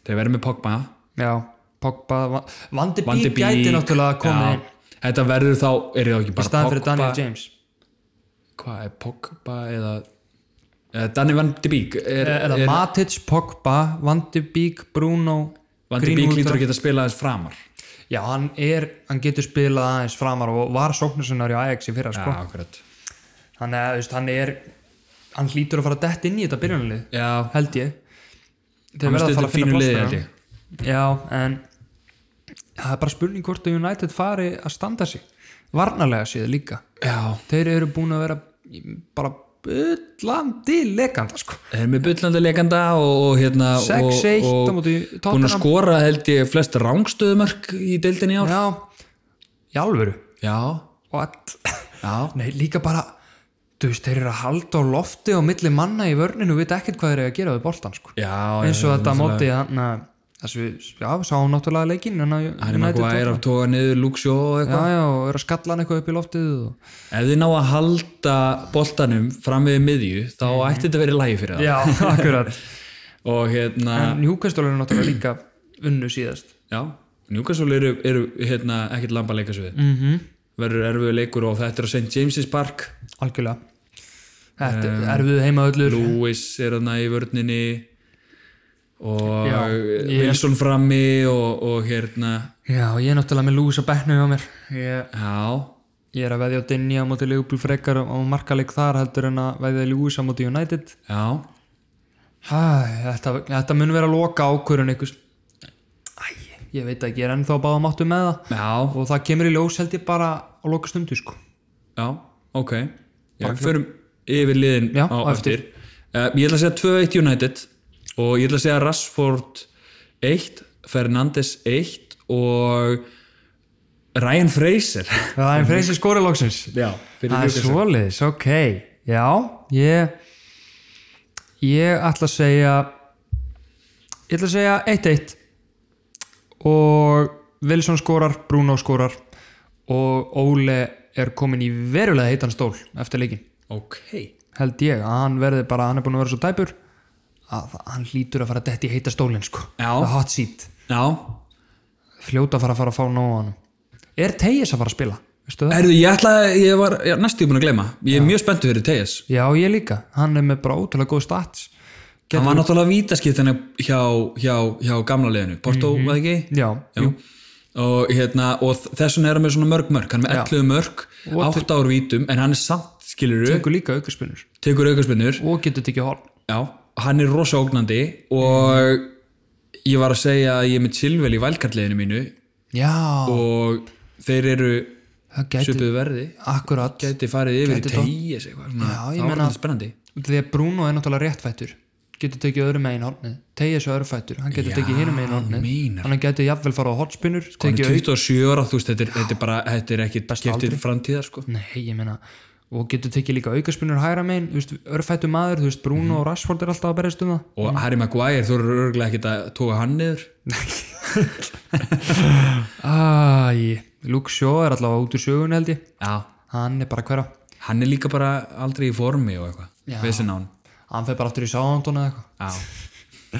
S1: þeir verður með Pogba
S2: já, Pogba Va- Van de
S1: Van de
S2: Beek gæti
S1: Beek,
S2: náttúrulega að koma
S1: já.
S2: inn
S1: þetta verður þá, er það ekki
S2: í
S1: bara
S2: staðan fyrir
S1: Pogba
S2: Daniel James
S1: hvað er Pogba eða eða Danny Van de Beek er,
S2: e eða Matic, Pogba, Van de Beek Bruno,
S1: Van de Beek lítur
S2: Greenwood
S1: að geta spilað aðeins framar
S2: já, hann er, hann getur spilað aðeins framar og var sóknarsinnar í Ajax í fyrra
S1: Já,
S2: sko.
S1: akkurat
S2: hann, er, þú veist, hann er hann hlýtur að fara dett inn í þetta byrjunalið
S1: Já,
S2: held ég þeir
S1: Hann
S2: verða að fara
S1: stundur
S2: að finna
S1: fínu liði,
S2: pláss
S1: held
S2: fyrir
S1: ég.
S2: hann. já, en það er bara spurning hvort að United fari að standa sig varnarlega séð líka
S1: já
S2: þeir eru búin að vera bara byllandi leganda sko.
S1: Þeir eru með bullandi leikanda og, og hérna og-
S2: 6-1
S1: og
S2: á móti
S1: Búin að
S2: Tottenham.
S1: skora held ég flest rángstöðumörk í deildinni í ár
S2: já, í alvöru
S1: Já,
S2: What?
S1: já,
S2: nei, líka bara þú veist, þeir eru að halda á lofti og milli manna í vörninu og vita ekkert hvað þeir eru að gera við boltan sko.
S1: já
S2: eins og
S1: já,
S2: þetta
S1: náttúrulega.
S2: móti hann að þess við, já, við sáum náttúrulega leikinn hann að
S1: Hann er maður að er að toga niður lúksjó og
S2: já,
S1: eitthvað
S2: já, og eru að skalla hann eitthvað upp í loftið og...
S1: Ef þið ná að halda boltanum fram við miðju þá ætti þetta verið lægi fyrir það
S2: já, akkurat
S1: og hérna,
S2: en Newcastle eru náttúrulega líka unnu síðast
S1: já Newcastle eru, eru hérna, ekkert lamba leikasvið
S2: mm -hmm.
S1: verður erfiðu leikur og þetta er á St. James's Park
S2: algjörlega þetta um, er við heima öllur
S1: Lewis er hann í vörninni og
S2: Já, ég-
S1: Wilson frammi og, og hérna
S2: já, ég er náttúrulega með Lewis á bekknu hjá mér ég,
S1: já,
S2: ég er að veðja á Dinni á móti Leopold frekar á markaleik þar heldur en að veðja Lewis á móti United
S1: já
S2: Hæ, þetta, þetta mun vera loka ákvörun einhvers Æ, ég veit ekki, ég er ennþá báðum áttu með það
S1: Já,
S2: og það kemur í ljós held ég bara á loka stundu sko
S1: já, ok Já, förum yfir liðin
S2: Já,
S1: á
S2: á
S1: eftir, Uh, Ég ætla að segja 2-1 United og ég ætla að segja Rashford 1, Fernandes 1 og Ryan Fraser
S2: það er freysi skóri loksins
S1: Já, fyrir
S2: það er
S1: Newcastle
S2: svoleiðis, ok já, ég ég ætla að segja ég ætla að segja 1-1 og Wilson skorar, Bruno skorar og Óle er komin í verulega heitan stól eftir leikin
S1: Ok,
S2: held ég að hann verði bara, hann er búin að vera svo tæpur að hann hlýtur að fara að detti í heita stólinn sko,
S1: Já.
S2: the hot seat
S1: já
S2: fljóta að fara að fara að fá nóg á hann er Tejas að fara að spila, veistu það?
S1: Erðu, ég ætla að, ég var já, næstu búin að gleyma Ég er mjög spenntu fyrir Tejas
S2: Já, ég líka, hann er með bara ótrúlega góð stats
S1: Hann var náttúrulega vítaskiptina hjá, hjá, hjá gamla liðinu Porto, mm ekki?
S2: Já,
S1: Jú. og, hérna, og þessum er hann með svona mörg mörg hann er með 11 mörg, 8 ár vítum en hann er samt, skilur
S2: tekur líka aukarspinnur
S1: tekur aukarspinnur
S2: og getur tekið hól
S1: já, hann er rosa ógnandi og ég var að segja að ég er með Silvel í valkartleginu mínu
S2: Já,
S1: og þeir eru
S2: það gæti,
S1: svipuðu verði
S2: akkurat
S1: gæti farið yfir
S2: Gæti
S1: í tegis eitthvað svona,
S2: Já, ég
S1: það var
S2: meina-
S1: alveg spennandi
S2: því að Bruno er náttúrulega réttfættur getur tekið öðrum megin hólni Tejas er öðrufættur, hann getur tekið hinum megin hólni
S1: meinar.
S2: hann getur jafnvel fara á hólspinnur
S1: hann er
S2: tekið
S1: 27 ára, þú veist, þetta er, þetta er bara þetta er ekki skiptir framtíðar sko
S2: Nei, ég meina og getur tekið líka aukarspinnur hæra megin þú veist, örfættu maður, þú veist, Bruno og Rashford er alltaf að berjast um það
S1: og Harry Maguire, þú eru örgulega ekkert að tóka hann niður
S2: Æ, Luke Shaw er alltaf út úr sögun held ég
S1: já,
S2: hann er bara hverja,
S1: hann er líka bara aldrei í formi og eitthvað vesen á hann
S2: hann fer bara aftur í Southampton eða eitthvað
S1: Já.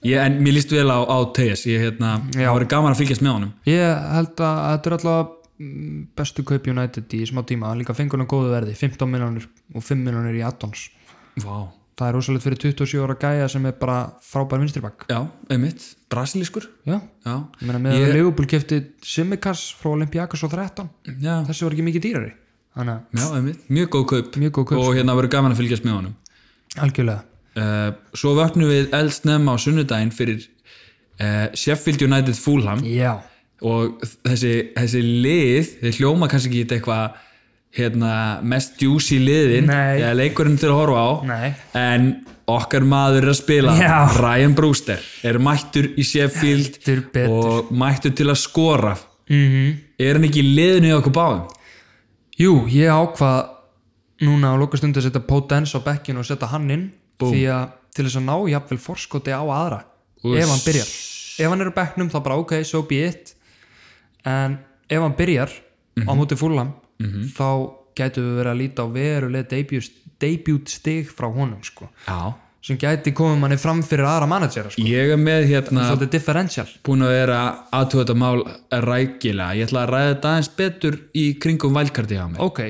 S1: ég, en mér líst vel á, á TS ég hérna, það voru gaman að fylgjast með honum
S2: Ég held að þetta er alltaf mm, bestu kaup United í smá tíma líka fengur hann á góðu verði, 15 miljonir og 5 miljonir í addons
S1: Vá.
S2: það er rosalegt fyrir 27 ára gæja sem er bara frábær vinstribakk
S1: já, einmitt, brasilískur
S2: Já,
S1: já,
S2: ég meina með
S1: Ég-
S2: að Leopold kefti Simmikas frá Olympiakos og 13
S1: já,
S2: þessi var ekki mikið dýrari þannig
S1: já einmitt, mjög góð kaup
S2: Mjög góð kaup,
S1: og hérna það voru gaman að fylgjast með honum
S2: að algjörlega
S1: uh, svo vöknum við eldsnefn á sunnudaginn fyrir uh, Sheffield United Fulham
S2: Já,
S1: og þessi, þessi lið þeir hljóma kannski ekki þetta eitthvað hérna, mest juicy liðin
S2: Nei.
S1: eða leikurinn til að horfa á
S2: Nei.
S1: en okkar maður er að spila
S2: Já.
S1: Ryan Brewster er mættur í Sheffield
S2: Heldur betur.
S1: og mættur til að skora
S2: mm
S1: er hann ekki í liðinu í okkur báðum?
S2: Jú, ég ákvað núna á lokastundu að setja Potence á bekkin og setja hann inn því að til þess að ná jafnvel forskoti á aðra
S1: Úss.
S2: ef hann byrjar ef hann er á bekknum þá bara ok, so be it en ef hann byrjar á móti fúlam þá gætu við verið að líta á veruleg debut, debut stig frá honum sko,
S1: Já
S2: sem gæti komið manni fram fyrir aðra managera sko,
S1: Ég er með hérna
S2: svolítið differential
S1: búin að vera aðtöða þetta mál rækilega ég ætla að ræða þetta aðeins betur í kringum valkarti hjá mér
S2: ok,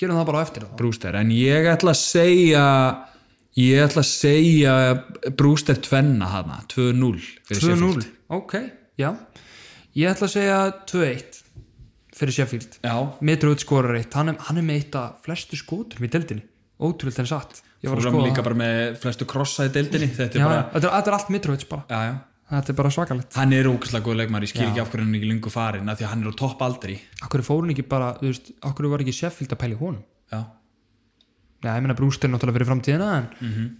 S2: gerum það bara á eftir það
S1: Brewster en ég ætla að segja ég ætla að segja Brewster tvenna hana 2-0 fyrir Sheffield.
S2: 2-0, ok, já ég ætla að segja 2-1 fyrir Sheffield
S1: Já,
S2: Mitrovic skorar eitt, hann er, hann er með eitt af flestu skotum í deildinni, ótrúlega en satt ég var að
S1: Fulham
S2: skoða
S1: líka
S2: það
S1: bara með flestu krossa í deildinni þetta er
S2: já,
S1: bara
S2: já, þetta, er, þetta er allt Mitrovic bara,
S1: já, já.
S2: þetta er bara svakalegt
S1: hann er ógæslega góð leikmar ég skil ekki af hverju hann er ekki lungu farin af því að hann er á topp aldri
S2: okkur fórun ekki bara, þú veist, okkur var ekki Sheffield að pæli honum,
S1: já.
S2: já, ég meina Brewster náttúrulega fyrir framtíðina en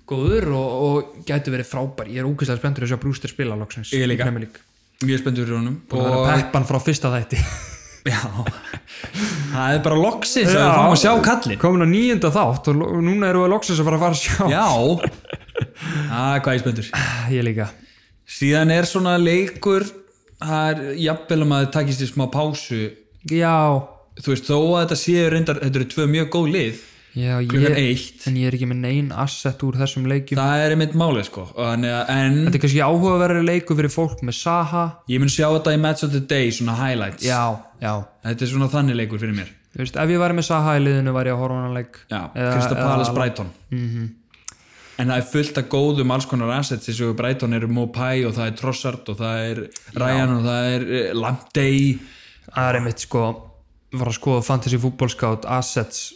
S2: góður og, og gæti verið frábær, ég er ógeðslega spenntur að sjá Brewster spila loksins
S1: Ég
S2: í
S1: líka.
S2: Premier League.
S1: mjög spenntur fyrir honum
S2: og það er peppan frá fyrsta þætti
S1: já, það er bara loksins að við
S2: Já.
S1: fáum að sjá kallin
S2: komin á nýjunda þátt og lo- núna erum við loksins að fara að fara að sjá
S1: já, það
S2: Ah,
S1: er hvað ég er spenntur
S2: Ég líka
S1: síðan er svona leikur það er jafnvel að maður takist í smá pásu
S2: Já,
S1: þú veist, þó að þetta séu reyndar, þetta eru tvö mjög góð lið
S2: já
S1: klukkan
S2: ég,
S1: eitt,
S2: En ég er ekki með neyn asset úr þessum leikjum
S1: það er einmitt málið sko en, en
S2: Þetta er kannski áhugaverðari leiku fyrir fólk með Saha
S1: ég mun sjá þetta í Match of the Day, svona highlights
S2: Já, já
S1: þetta er svona þannig leikur fyrir mér
S2: Þú veist, ef ég væri með Saha í liðinu væri ég að horfa á hana leik
S1: já, Krista Palace Brighton Mhm. en það er fullt af góðum alls konar assets eins og Brighton eru Mopai og það er Trossard og það er Ryan og það er eh, Lamptey
S2: Það er einmitt sko var að skoða fantasy fútbolskátt assets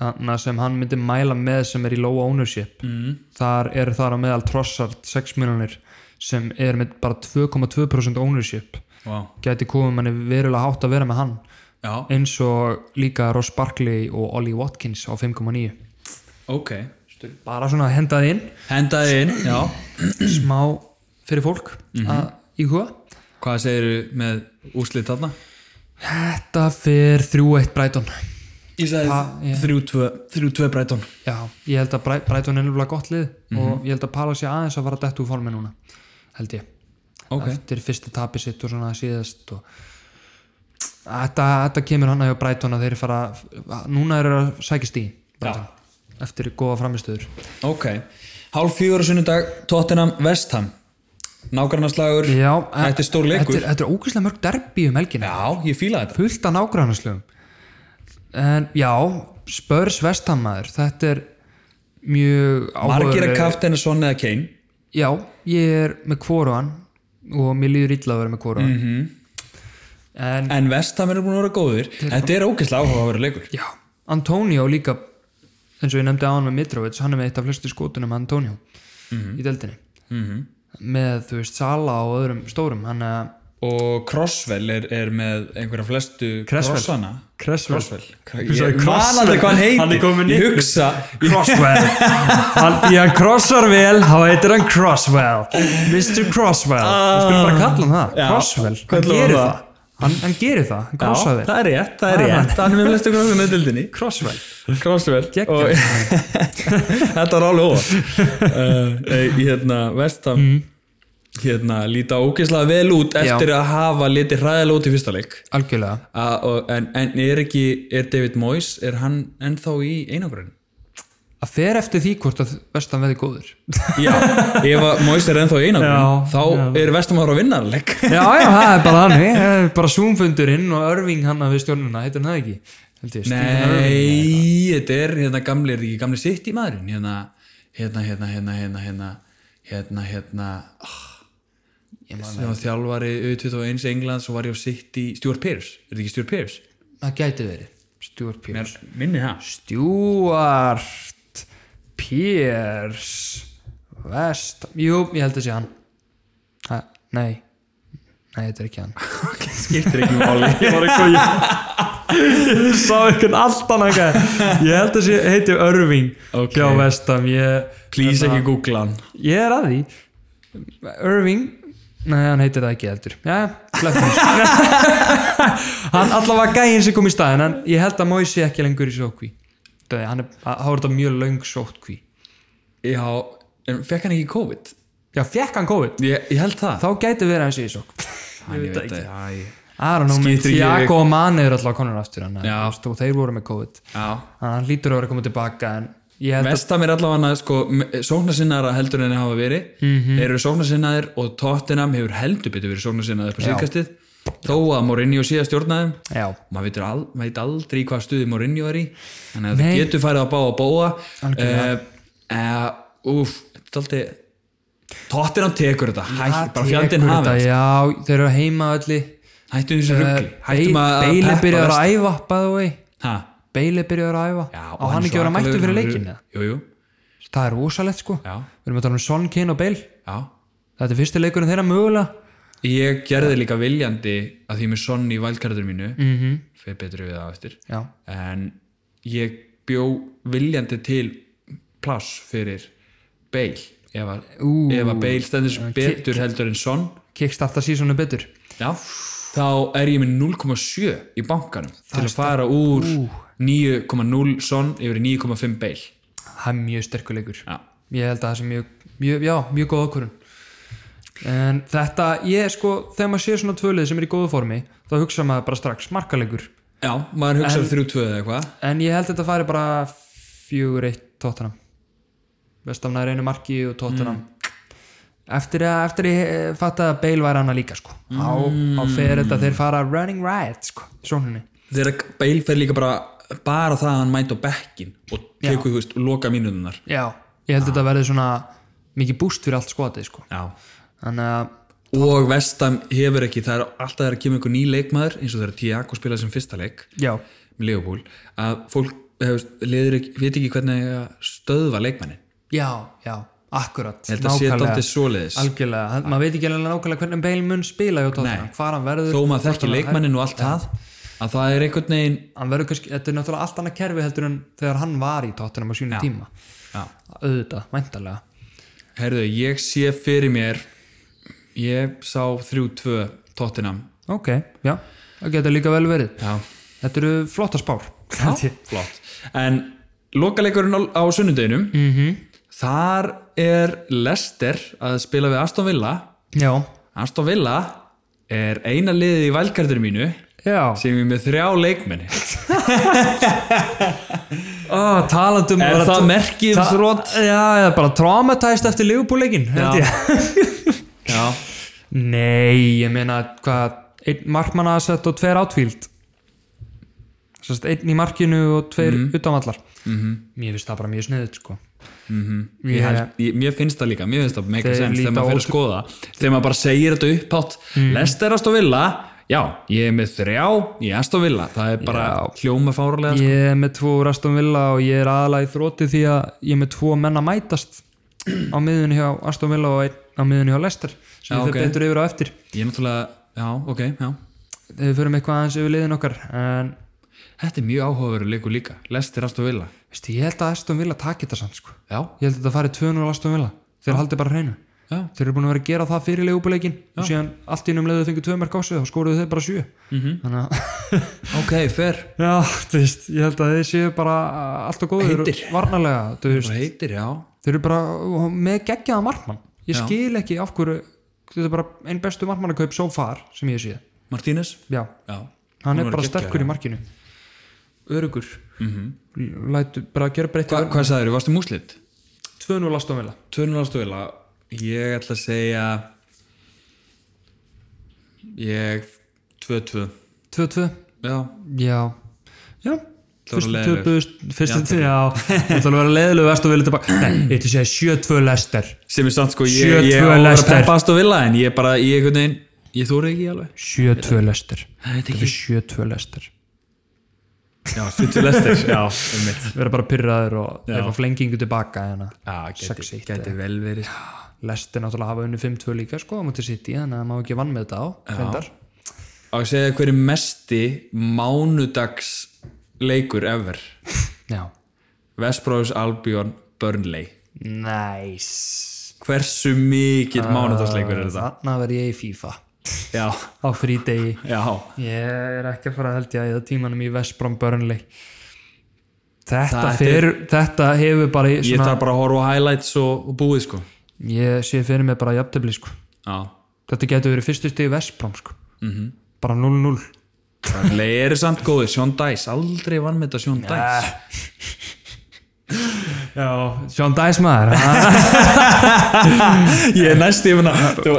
S2: hana sem hann myndi mæla með sem er í low ownership mm. þar er þar á meðal Trossard 6 miljonir sem er með bara 2,2% ownership
S1: Vá.
S2: gæti komið manni verulega hátt að vera með hann
S1: Já,
S2: eins og líka Ross Barkley og Ollie Watkins á 5,9
S1: ok.
S2: bara svona að henda það inn
S1: Hendaði inn, já.
S2: smá fyrir fólk
S1: Mhm.
S2: að íhuga
S1: Hvað segiru með úrslit þarna?
S2: þetta fyrir 3-1 Brighton
S1: Ég sagði
S2: Pa- ég-
S1: 3-2 Brighton.
S2: já, ég held að Bri- Brighton er nefnilega gott lið
S1: Mhm.
S2: og ég held að Palace sé aðeins að fara að dettu úr formi núna held ég
S1: Ok.
S2: eftir fyrsta tapi sitt og svona síðast og þetta, þetta kemur hann að hjá Brighton að þeir fara núna eru að sækist í Brighton, eftir góða framistöður
S1: Ok. Hálf fjögur á sunnudag, Tottenham, Vestham. Nágrannaslagur,
S2: já, eh,
S1: þetta er stór leikur.
S2: þetta er- þetta er ógæslega mörg derbi um helgina
S1: Já, ég fíla þetta.
S2: fullt af nágrannarslögum en já spörs vestamæður, þetta er mjög
S1: Margir að
S2: áhugaverð-
S1: kaftina Son eða Kane.
S2: já, ég er með kvoruan og mér líður illa að vera með kvoruan mm
S1: Mhm.
S2: -hmm. en
S1: En Vestham eru búin að vera góðir. Þetta er ógeðslega áhuga að vera leikur.
S2: já, Antonio líka eins og ég nefndi á hann með Mitrovic hann er með eitt af flestu skotunum Antonio
S1: Mhm.
S2: í deldinni -hmm. með þú veist Sala og öðrum stórum hann að
S1: Og Crosswell er, er með einhverja flestu
S2: Cresswell.
S1: krossana.
S2: Cresswell.
S1: Crosswell.
S2: Þú sagði
S1: Ég man
S2: Crosswell.
S1: aldrei hvað hann heitir.
S2: Hann er kominn
S1: Ég
S2: niður.
S1: hugsa,
S2: Crosswell hann, Því hann crossar vel, þá heitir hann Crosswell Mr. Crosswell Við skulum bara kalla hann það,
S1: Ah. Já,
S2: Crosswell Hann
S1: köllum hann
S2: gerir
S1: það.
S2: það, hann, hann gerir það Hann
S1: Já,
S2: crossar vel,
S1: það er rétt, það er
S2: Það er
S1: rétt hann er með flestu krossum með dildinni
S2: Crosswell
S1: Crosswell
S2: Geggjað.
S1: og þetta var alveg óa uh, hérna vestam
S2: Mm.
S1: hérna líta ógeðslega vel út eftir að hafa litið hræðilega út í fyrsta leik
S2: Algjörlega
S1: A, og, en, en er ekki er David Moyes, er hann ennþá í einangrun?
S2: Að fer eftir því hvort að vestan veði góður
S1: Já, ef að Moyes er ennþá í einangrun
S2: Já,
S1: þá er vestam að vinna hann leik
S2: Já, já, það er bara hann Það er bara Zoom-fundurinn og Irving hann við stjórnuna Heitir hann það ekki? Held ég, Stephen Irving.
S1: Nei, þetta er hérna gamli, er þetta ekki gamli sitt í maðurinn hérna, hérna, hérna, hérna, hérna hérna, hérna, hérna oh, sem var þjálfari U21 England, svo var ég á sitt í Stuart Pearce, er þetta ekki Stuart Pearce?
S2: Það gæti verið Stuart Pearce
S1: Mér minni það
S2: Stuart Pierce Vest Jú, ég held að sé hann ha, Nei Nei, þetta er ekki hann
S1: Skiptir ekki máli
S2: Ég var eitthvað Ég sá eitthvað allt annað gæði. Ég held að sé heiti Irving
S1: Ok.
S2: Hjá Vestam ég, Hérna,
S1: Please ekki googla hann
S2: ég er að því Irving Nei, hann heitir það ekki heldur Já, sleppum þessu. Hann allavega gæðin sem kom í staðin En ég held að Moise sé ekki lengur í sótkví Það er, hann er, þá er þetta mjög löng sótkví
S1: Já, en fekk hann ekki COVID?
S2: Já, fekk hann COVID?
S1: Ég, ég held það
S2: Þá gæti verið hans í sokk
S1: Hann, ég veit það ekki
S2: I don't know, menn
S1: Skiptir ekki-
S2: Thiago og Mane eru alltaf konur aftur hann
S1: Já.
S2: og þeir voru með COVID
S1: Já,
S2: Þannig að hann lítur að vera að koma tilbaka en ég held
S1: Vestam er allavega sko, sóknarsinnaðara heldur en þeir hafa verið
S2: Mhm.
S1: eru sóknarsinnaðir og Tottenham hefur heldur betur verið sóknarsinnaðir upp á síðkastið þó að Mourinho sé að stjórna þeim
S2: að Já,
S1: maður veit, al, maður veit aldrei í hvaða stuði Mourinho er í þannig að það
S2: Nei.
S1: getur farið að bá að bóa uh, uh, Úf, þetta er aldrei Tottenham tekur þetta Hætt, bara fjandinn
S2: tekur
S1: hafa
S2: þetta,
S1: þetta.
S2: Já, þeir eru heima öllu Eh,
S1: hættum þessu rugli hættum að að
S2: Beile
S1: peppa
S2: byrjar
S1: vest-
S2: að æfa, by the way
S1: Ha,
S2: Beile byrjar að æfa
S1: já,
S2: og hann ekki vera mættur fyrir leikin eða?
S1: Jú, jú,
S2: Það er rosalegt sko
S1: já,
S2: Við erum að tala um Son, Kane og Bale
S1: já
S2: Þetta er fyrsti leikurinn þeirra mögulega
S1: Ég gerði líka viljandi að því með sonn í valkarður mínu mm -hmm. fyrir betri við það á eftir
S2: Já,
S1: en ég bjó viljandi til pláss fyrir Bale ef að,
S2: Ú.
S1: ef að Bale stendur sem betur heldur en sonn
S2: kickstarta sísonu betur
S1: já, þá er ég með 0,7 í bankanum til að fara úr 9,0 sonn yfir í 9,5 Bale
S2: Það er mjög sterkur leikur
S1: já.
S2: Ég held að það sé mjög, mjög já, mjög góð okkurinn. En þetta, ég sko, þegar maður sér svona tvölið sem er í góðu formi, þá hugsa maður bara strax, markalegur.
S1: já, maður hugsaður 3-2 eða eitthvað
S2: En ég held að þetta fari bara fjögur eitt tóttanam. Vestam nær einu marki og tóttanam. Eftir að, eftir að ég eh, fatta að Bale væri hana líka, sko. Mm. Á, á fer þetta, þeir fara running riot, sko, sóninni.
S1: þegar Bale fer líka bara bara það að hann mæta á bekkin og tekur, þú veist, loka mínuðunar
S2: Já, ég held að þetta verði svona mikið búst fyrir allt skotið, sko.
S1: já
S2: Þannig að,
S1: og Vestam hefur ekki það er alltaf þegar kemur einhver ný leikmaður eins og þegar Tiago spilaði sem fyrsta leik
S2: já,
S1: með Leopold að fólk hefur, leður ekki, veit ekki hvernig eiga að stöðva leikmannin
S2: já, já, akkurat,
S1: held að sé daldið svoleiðis
S2: algjörlega, Hann- maður veit ekki alveg nákvæmlega hvernig Bale mun spila hjá
S1: Ah.
S2: Tottenham,
S1: Nei.
S2: hvað hann verður
S1: þó maður
S2: hvort
S1: þekki
S2: hann-
S1: leikmannin og allt það að það er einhvern veginn
S2: hann verður kannski, þetta er náttúrulega allt annað kerfi heldur en þegar hann var í Tottenham á sínum tíma
S1: já.
S2: auðvitað, væntalega
S1: herðu, ég sé fyrir mér ég sá 3-2 Tottenham
S2: ok, já, það getur líka vel verið
S1: já,
S2: þetta eru flotta spár held ég.
S1: flott en lokaleikurinn á, á sunnudeginum -hmm. þar er Lester að spila við Aston Villa
S2: já,
S1: Aston Villa er eina liðið í valkardur mínu
S2: já
S1: sem ég er með þrjá leikmenni
S2: Ó, talandum
S1: Er það merkið um þrot?
S2: já, eða bara traumatized eftir Liverpool-leikin held ég
S1: já,
S2: Nei, ég meina hvað, einn markmanna að setja og tveir átfíld Sest, einn í markinu og tveir
S1: Mhm.
S2: mm. utanvallar -hmm. Mér finnst það bara mjög sniðið sko. mm
S1: Mhm. Ég
S2: -hmm.
S1: held, ég, mér finnst það líka, mér finnst það meika
S2: Þeir
S1: sens þegar
S2: líta
S1: maður fyrir að
S2: ótrú-
S1: skoða þegar maður bara segir þetta upphátt mm. Lester Aston Villa, já, ég er með þrjá í Aston Villa, það er bara
S2: Já.
S1: hljóma fárlega
S2: ég, ég er með tvo Rastum Villa og ég er aðalega í þróti því að ég er með tvo menn að mætast á miðunni hjá Aston Villa og einn á miðunni hjá Leicester sem
S1: Já,
S2: við
S1: ok.
S2: fyrir betur yfir á eftir
S1: ég er náttúrulega, já, ok, já
S2: þegar við förum eitthvað aðeins yfir liðin okkar en
S1: þetta er mjög áhugaveru leikur líka, Lester Aston Villa
S2: veistu, ég held að Aston Villa takki þetta samt sko.
S1: já,
S2: ég held að þetta fari 2-0 Aston Villa þeir haldi bara hreinu
S1: já,
S2: þeir eru búin að vera að gera það fyrir leigubuleikin og síðan allt í num leiðu fengið tvö mörg á sig þá skoruðu þeir bara sjö
S1: Mhm.
S2: -hmm. þannig að
S1: ok, fer
S2: já, þú veist, ég held að þeir séu bara allt og góður
S1: Heitir.
S2: varnarlega þú veist,
S1: og heitir, já,
S2: þeir eru bara með geggjaða markmann ég
S1: Já.
S2: skil ekki af hverju þetta er bara einn bestu markmannakaup so far sem ég sé
S1: Martínez
S2: já,
S1: já,
S2: hann
S1: Hún
S2: er
S1: var
S2: bara
S1: geggjaður,
S2: sterkur í markinu
S1: örugur mm
S2: lætu bara að gera breytta
S1: hvað sagður, varstu múslit?
S2: 2-0 Aston Villa
S1: 2-0 Aston Villa, ég ætla að segja ég 2-2
S2: 2-2,
S1: já
S2: já já
S1: Það var
S2: Fyrstu
S1: leiðilegur.
S2: töpuðust, fyrstu til, já, það ætla að vera leiðilegu Aston Villa tilbaka, nei, ég ætla að segja 7-2 lester
S1: sem er samt sko ég,
S2: 7-2
S1: ég á að vera
S2: Leicester.
S1: peppast og vilja en ég bara, ég einhvern veginn ég þóri ekki alveg
S2: 7-2 lestir
S1: veit
S2: Þetta er 7-2 lestir
S1: já, stuttur lestir já, um mitt
S2: Verða bara pyrraður og
S1: Já.
S2: eitthvað flengingu tilbaka hérna.
S1: já, geti,
S2: 6-1
S1: geti vel verið
S2: Lestir náttúrulega hafa unni 5-2 líka sko á mútið sitt í þannig að maður ekki vann með þetta á reyndar.
S1: á að segja hverju mesti mánudags leikur ever
S2: Já
S1: Vestbróðs Albion Burnley
S2: Næs
S1: hversu mikill mánudagsleikur er þetta
S2: Þannig verð ég í FIFA
S1: já,
S2: á frídegi
S1: já
S2: Ég er ekki að fara að held ég að eða tímanum í Vestbrom Burnley Þetta,
S1: Það er-
S2: fer, þetta hefur bara í
S1: ég
S2: svona,
S1: þarf bara að horfa á highlights og, og búið sko
S2: ég, sé fyrir mig bara jafntefli sko
S1: já
S2: Þetta getur verið fyrstu stig Vestbrom sko
S1: Mhm.
S2: -hmm. Bara 0-0
S1: Burnley eru samt góðir, Sean Dice aldrei vann með þetta Sean Dice
S2: Já, Sean Dice maður ha?
S1: Ég er næst yfir að þú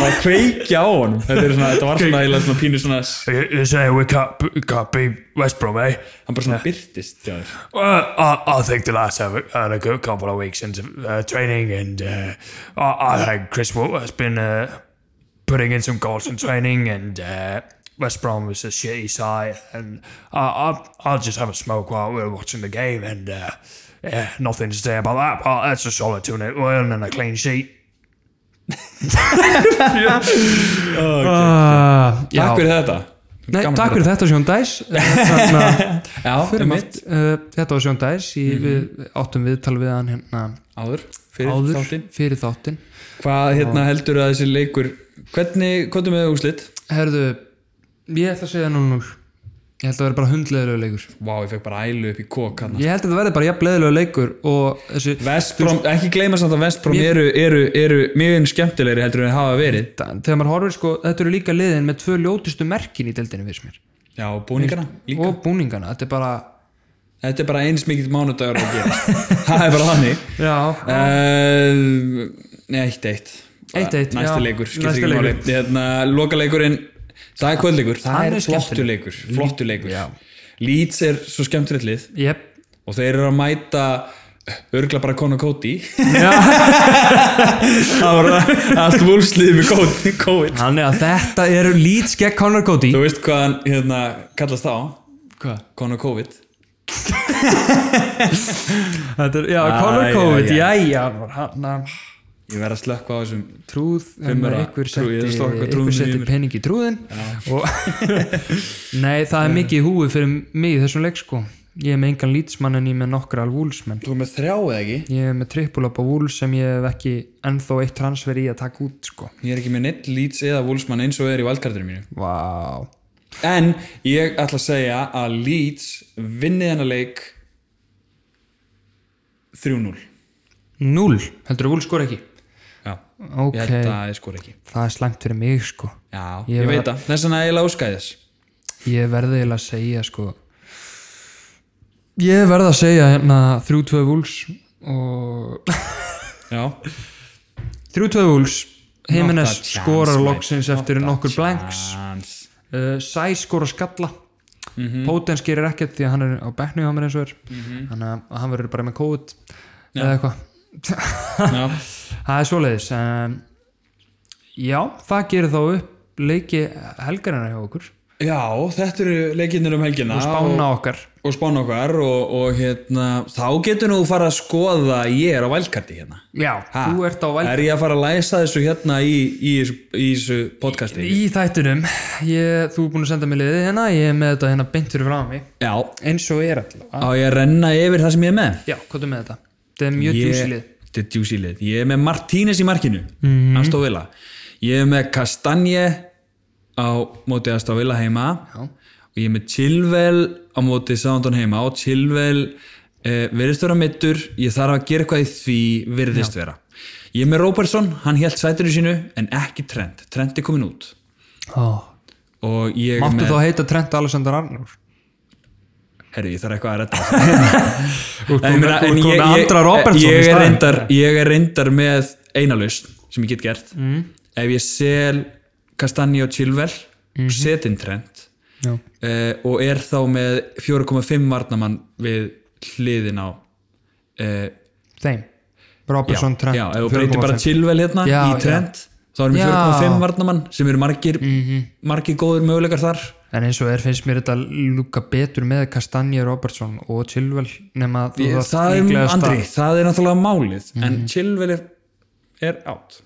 S1: var kveikja á honum Þetta, er svona, þetta var svona, eiginlega svona pínu svona
S3: You, you say we can't, we can't beat West Brom, eh?
S1: hann bara svona byrtist hjá þér
S3: Well, I, I think the last uh, had a good couple of weeks into uh, training, and uh, I, I think Chris Wood has been uh, putting in some goals in training, and uh, West Brom was a shitty side, and I, I, I'll just have a smoke while we're watching the game, and uh, yeah, nothing to say about that. But that's a solid 2 0 win and a clean sheet.
S2: uh, já.
S1: Takk fyrir þetta
S2: Nei, takk fyrir þetta Sean Dice Þannig
S1: Já,
S2: að
S1: fyrir mitt
S2: mitt, uh, Þetta var Sean Dice ég, Við áttum viðtal við hann hérna
S1: Áður, Mhm. fyrir
S2: áður
S1: þáttinn
S2: fyrir þáttinn
S1: Hvað hérna heldur að þessi leikur Hvernig, hvað er með úslit?
S2: Herðu, ég ætla að segja 0-0 Ég held að vera bara hundleðilegu leikur
S1: Vá, ég fekk bara ælu upp í kók hann
S2: Ég held að þetta verði bara jafn leðilegu leikur og þessi
S1: Vestbrom, ekki gleyma samt að Vestbrom eru, eru, eru mjög skemmtilegri heldur en þeir hafa verið
S2: þegar maður horfir sko, þetta eru líka liðin með tvö ljótustu merkin í deildinu fyrir mér
S1: Já, og búningana líka
S2: og búningana, þetta er bara
S1: Þetta er bara eins mikill mánudagur að gera Það er bara þannig
S2: já,
S1: Uh, Nei, eitt eitt
S2: 1-1,
S1: Næsta
S2: já.
S1: leikur, skiptir
S2: Næsti
S1: ekki máli hérna, Lokaleikurinn, það er kvöldleikur Það
S2: Hann er
S1: er flottu
S2: skemmtilegur.
S1: leikur, flottu leikur. Leeds er svo skemmtilegt lið
S2: jep
S1: og þeir eru að mæta örgla bara Conor Cody Það var allt vúlslið með Cody- COVID
S2: Þannig að þetta eru Leeds gegn Connor Cody
S1: Þú veist hvað hann hérna, kallast þá
S2: Hvað?
S1: Conor COVID
S2: Þetta er, já,
S1: Æ,
S2: Color
S1: já,
S2: Code,
S1: já.
S2: jæja hann að
S1: Ég verð að slökka á þessum
S2: trúð en
S1: Fimmara.
S2: ykkur
S1: Trú- ég er að
S2: setti,
S1: slá eitthvað
S2: ykkur
S1: trúðum í
S2: setti
S1: mér.
S2: pening í trúðin og nei, það er mikið í húi fyrir mig í þessum leik sko ég er með engan lýtsmann en ég er með nokkra alvúlsmenn
S1: Þú er með þrjá eða ekki?
S2: ég er með trippul upp á vúl sem ég hef ekki ennþá eitt transfer í að taka út sko
S1: Ég er ekki með neitt Leeds eða Wolfsman eins og er í valkartinu mínu
S2: vá
S1: En ég ætla að segja að Leeds vinni þennan leik 3-0
S2: núl, heldur að vúl skor ekki
S1: Já,
S2: ok,
S1: ég held að það er skor ekki
S2: það er slæmt fyrir mig sko
S1: Já,
S2: Ég
S1: ég,
S2: var-
S1: veit það, þess vegna er ég láskæðis
S2: ég verði eiginlega að segja sko ég verði að segja hérna 3-2 vúls og
S1: Já,
S2: 3-2 Wolves Jimenez
S1: Not a chance,
S2: skorar
S1: mate.
S2: loksins eftir
S1: Not a
S2: nokkur blanks
S1: chance.
S2: uh, Sæ skorar skalla mm Potens gerir ekkert því að hann er á bekknu á mér eins og er þannig að hann verður bara með kóð eða eitthvað
S1: Já,
S2: það er svoleiðis um, já, það gerir þá upp leiki helgarina hjá okkur
S1: Já, þetta eru leikinnir um helgina
S2: og spána okkar
S1: og spána okkar og, og hérna, þá getur nú fara að skoða að ég er á valkarti hérna
S2: já,
S1: Ha,
S2: þú ert á væl
S1: Er ég að fara að læsa þessu hérna í, í, þessu- í þessu podcasti?
S2: í þættunum, ég, þú er búin að senda mér liðið hérna, ég er með þetta hérna beint fyrir frá mig
S1: Já,
S2: eins og er allavega
S1: á ég að renna yfir það sem ég er með?
S2: já, hvað er með þetta? þetta er mjög djúsi lið
S1: Þetta er juicy lið. Ég er með Martínez í markinu,
S2: Mhm.
S1: mm. Astovilla. Ég er með Kastanje á móti Astovilla heima
S2: Já.
S1: og ég er með Chilwell á móti Sándon heima og Chilwell eh, virðist vera mittur, ég þarf að gera eitthvað í því virðist vera. Ég er með Robertson, hann hélt sætinu sínu en ekki Trent. Trent er komin út
S2: oh.
S1: og ég er
S2: Máttu
S1: með...
S2: þá heita Trent Alexander Arnur?
S1: Herru, ég þarf eitthvað að redda En ég meina, en ég- ég- ég er
S2: Ég
S1: reyndar, ég er reyndar með eina lausn sem ég get gert
S2: Mm.
S1: ef ég sel Kastani og Chilwell
S2: Mhm.
S1: mm -hmm. setin trend uh, og er þá með 4,5 varnamann við hliðin á uh,
S2: Þeim Robertson Trent
S1: já, ef þú breytir bara
S2: 4,5.
S1: Chilwell hérna
S2: Já,
S1: í trend þá erum við
S2: Já. Mhm.
S1: 4,5 varnamann sem eru margir, margir góður möguleikar þar
S2: En eins og er finnst mér þetta lúka betur með Kastanje Robertson og Chilwell nema þú
S1: það,
S2: þarft
S1: er
S2: líklegast að- Mhm.
S1: Andri, það er náttúrulega málið en Chilwell er, er átt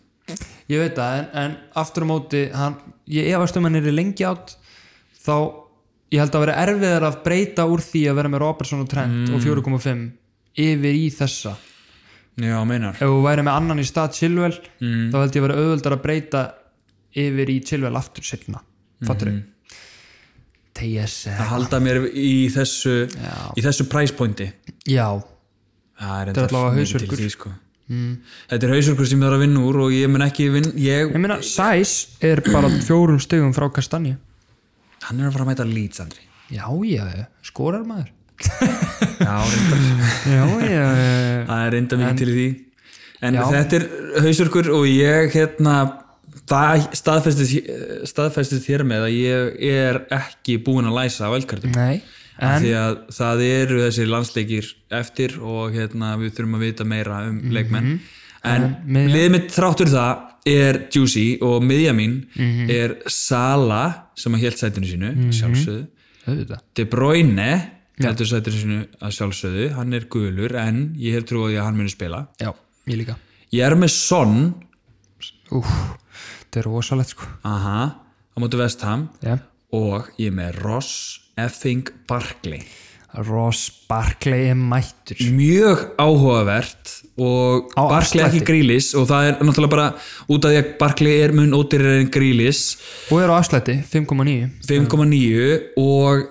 S2: Ég veit það, en, en aftur á móti hann, ég efast um hann er í lengi átt þá ég held að vera erfiðar að breyta úr því að vera með Robertson og Trent
S1: Mm.
S2: og 4.5 yfir í þessa
S1: já, meinar
S2: ef þú væri með annan í stað Chilwell þá held ég að vera auðvöldar að breyta yfir í Chilwell aftur setna fattur þau TSR,
S1: að halda mér í þessu í þessu præspointi
S2: já
S1: það er
S2: Þetta er
S1: enda
S2: allavega
S1: mikið
S2: hausverkur.
S1: til því, sko. þetta er hausverkur sem ég þarf að vinna úr og ég mun ekki vinna ég,
S2: ég meina Sæs er bara fjórum stegum frá Kastanje
S1: hann er að fara að mæta Leeds Andri
S2: já já, skorar maður
S1: já, reyndar.
S2: já já,
S1: það er enda mikið til því en
S2: Já.
S1: þetta er hausverkur og ég hérna það staðfestist, staðfestist hér með að ég er ekki búinn að læsa á velkartum
S2: nei en
S1: því að það eru þessir landsleikir eftir og hérna við þurfum að vita meira um leikmenn en
S2: miðjan-
S1: liðið mitt þráttur það er Juicy og miðja mín er Sala sem að hélt sætinu sínu mm sjálfsögðu
S2: auðvitað
S1: De Bruyne heldur sætinu sínu að sjálfsögðu hann er gulur en ég hef trúið að hann muni spila
S2: já, ég líka
S1: ég er með Son
S2: Úf, þetta er rosalegt sko
S1: aha, á móti Vestham
S2: já.
S1: og ég er með Ross Effing Barkley
S2: Ross Barkley er mættur
S1: mjög áhugavert og
S2: Á
S1: Barkley
S2: afslætti.
S1: ekki grílis og það er náttúrulega bara út af því að Barkley er mun ódýrir en grílis
S2: og er á afslætti 5.9
S1: 5,9 og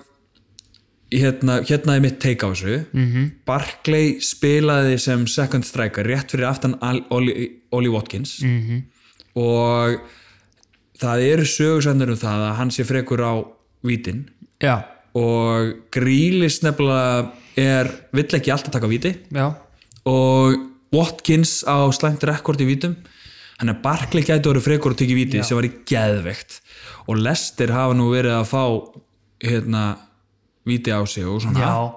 S1: hérna, hérna er mitt take á þessu -hmm. Barkley spilaði sem second striker rétt fyrir aftan Al- Ollie Ollie Watkins -hmm. og það eru sögursöndur um það að hann sé frekur á vítin
S2: já,
S1: og grílis nefnilega er vill ekki alltaf taka víti
S2: já
S1: og Watkins á slæmt rekord í vítum hann er Barkley gæti orðið frekur og tekið víti sem var í geðveikt og Lester hafa nú verið að fá hérna víti á sig og svona
S2: Já.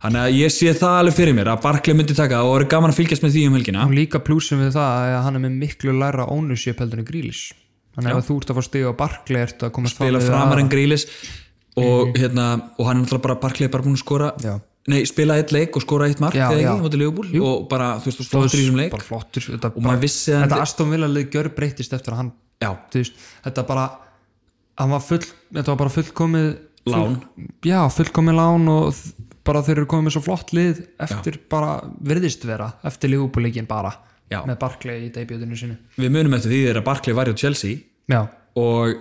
S1: þannig að ég sé það alveg fyrir mér að Barkley myndi taka það og orðið gaman að fylgjast með því um helgina
S2: og líka plúsum við það að hann er með miklu læra ownership heldur en grílis þannig að ef þú ert að fá stiga á barkli ertu að komast fram
S1: spila
S2: við
S1: framar en grílis og, hérna, og hann er náttúrulega bara parklega bara búin að skora
S2: Mhm. Já.
S1: nei, spila eitt leik og skora eitt mark
S2: Já,
S1: eða
S2: já.
S1: ekki, mótið Leopold og bara, þú veist, þú flottur í þessum leik
S2: bara flottur þetta,
S1: og maður vissi að
S2: þetta Aston Villa lið gjör breytist eftir að hann
S1: já,
S2: þú veist, þetta bara hann var full, þetta var bara fullkomið
S1: lán
S2: já, fullkomið lán og þ- bara þeir eru komið með svo flott lið eftir bara, virðist vera eftir lífúbúleikin bara
S1: Já.
S2: með Barclay í debutinu sinu
S1: við munum eftir því þegar að Barkley var hjá Chelsea
S2: já,
S1: og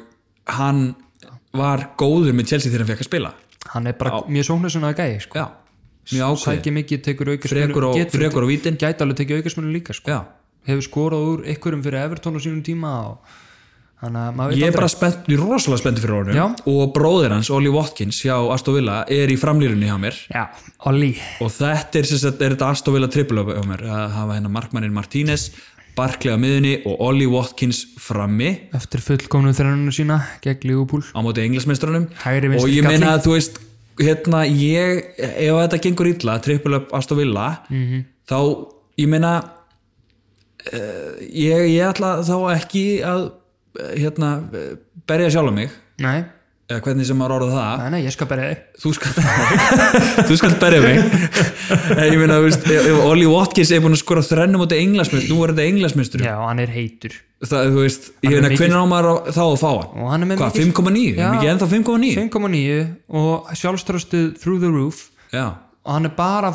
S1: hann var góður með Chelsea þegar hann fekk að spila
S2: hann er bara mjög sóknarsinn að gæi sko.
S1: já, mjög ákveð
S2: sækir mikið, tekur
S1: frekur á,
S2: aukarsmunum
S1: frekur á vítin
S2: gæti alveg tekið aukarsmunum líka sko.
S1: já.
S2: hefur skorað úr ykkurum fyrir Everton á sínum tíma og þannig að maður veit
S1: ég er
S2: aldrei.
S1: bara spennt, ég er rosalega spennt fyrir
S2: Já.
S1: honum og bróðir hans, Ollie Watkins hjá Aston Villa er í framlýrunni hjá mér
S2: já, Olli
S1: og þetta er, sem sagt, er þetta Aston Villa triple hjá mér að hafa hérna markmannin Martínez Barkley á miðunni og Ollie Watkins frammi
S2: eftir fullkomnu þrennunum sína gegn Liverpool
S1: á móti englismestrunum
S2: Hægri
S1: og
S2: vinstri
S1: ég
S2: galli.
S1: meina að þú veist hérna ég, ef þetta gengur illa trippul upp Aston Villa
S2: Mhm.
S1: þá ég meina uh, ég, ég ætla þá ekki að eh, hérna eh, berja sjálf mig
S2: nei,
S1: eða hvernig sem maður orða það
S2: nei, nei, ég skal berja þig
S1: þú skal þú skal berja mig En ég meina, þú veist, ef ef Ollie Watkins er búin að skora þrennum út í englasmist, nú er þetta englasmistur
S2: Já, hann er heitur
S1: það, þú veist, ég
S2: er
S1: meina,
S2: mikill-
S1: hvernig á maður á- þá að fá hann?
S2: og hann er með
S1: Hvað, 5,9?
S2: Já.
S1: Mikið ennþá 5,9?
S2: 5,9 og sjálfstrastuð through the roof
S1: Já,
S2: og hann er bara,